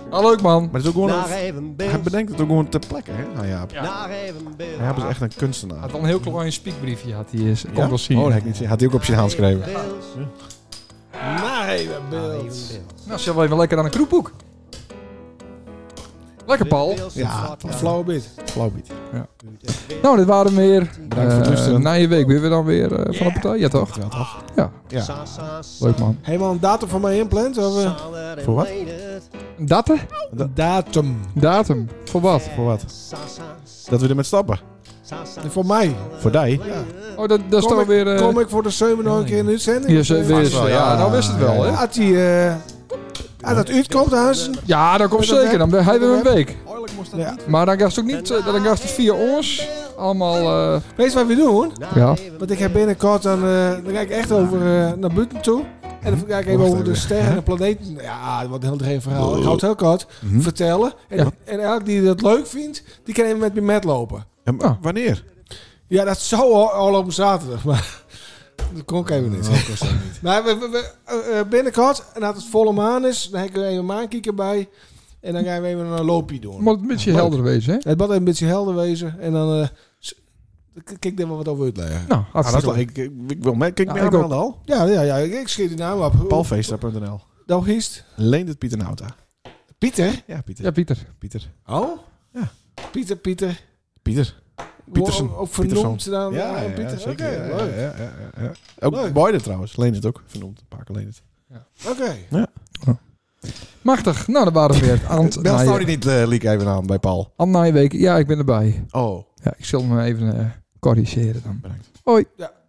Ah, leuk man.
Maar het is ook gewoon...
Naar
Een,
even
hij
beeld.
bedenkt het ook gewoon ter plekke, hè? Nou Jaap.
Naar even beeld.
Hij is echt een
Hij
kunstenaar.
had wel een heel klein speakbriefje, had hij eens. Kon
Ja?
wel zien.
Oh, dat heb ik niet zien. Had hij ook op zijn hand geschreven.
Naar even beeld.
beeld.
Nou, zullen we even lekker aan een kroepboek? Lekker, Paul.
Ja,
Een flauwe bit.
Flauwbiet.
Nou, dit waren we weer. eh,
Bedankt voor het luisteren.
Na je week weer we dan weer eh, van de partij. Ja, toch?
Ja, toch?
Ja,
Ja.
leuk man.
Helemaal een datum voor mij inplant? Of, eh?
Voor wat?
Dat, hè?
Een datum.
Datum. Voor wat?
Eh,
Voor wat? Dat we er met stappen.
Voor mij.
Voor die.
Oh, dat, dat is
Kom
toch
ik,
weer... eh,
kom ik voor de zeven nog een keer in de uitzending?
Hier is, eh, weer
Vast
eens-
wel,
ja,
Ah, ja.
nou wist het wel,
Ja,
hè?
Had hij... eh, had dat uitkomt, Hansen?
Ja, dat komt
Is dat
zeker. Dan ben hij weer een week.
Ja.
Maar dan gast ook niet... eh, Dan gast het via ons. Allemaal... eh,
Weet je wat we doen?
ja.
Want ik heb binnenkort dan, eh, dan ga ik echt over eh, naar buiten toe. En dan ga ik even
Wacht
over de
even.
sterren en de planeten. Nou Ja, wat een heel dreven verhaal. Ik ga het heel kort vertellen. En,
Ja.
en elk die dat leuk vindt, die kan even met me metlopen.
En w-
Ah.
wanneer?
Ja, dat zou al, al op een zaterdag, maar dat kon ik even niet. Maar we, we, we, eh, eh, binnenkort, en dat het volle maan is, dan heb ik er even een maankieker bij. En dan gaan we even een loopje doen.
Moet een beetje helder wezen, hè?
Het bad even een beetje helder wezen. En dan eh, s- k- kijk daar wel wat over uitleggen.
Nou,
Ah, dat is
hartstikke
wel-
leuk.
ik, ik, ik wil mee. Kijk
Ja,
meer
ik
aan
ook.
al.
Ja, ja, ja, ik ik schiet die naam op.
Palfeestra.nl.
Nou, hiest.
Leent het Pieter Nauta.
Pieter?
Ja, Pieter.
Ja, Pieter.
Pieter.
Oh?
Ja.
Pieter, Pieter.
Pieter. Pietersen.
Ook vernoemd dan
Ja,
ja,
ja,
Pieter.
zeker.
Oké,
Ja,
leuk.
ja, ja, ja, ja. Ook
Leuk.
Boyden trouwens. Leent het ook. Vernoemd. Een paar keer Leendert.
Oké.
Machtig. Nou, dat waren we weer. Ant,
Bel
na
nou
je,
die niet, eh Liek, even aan bij Paul.
Ant na je week. Ja, ik ben erbij.
Oh.
Ja, ik zal hem even eh, corrigeren dan.
Bedankt.
Hoi.
Ja.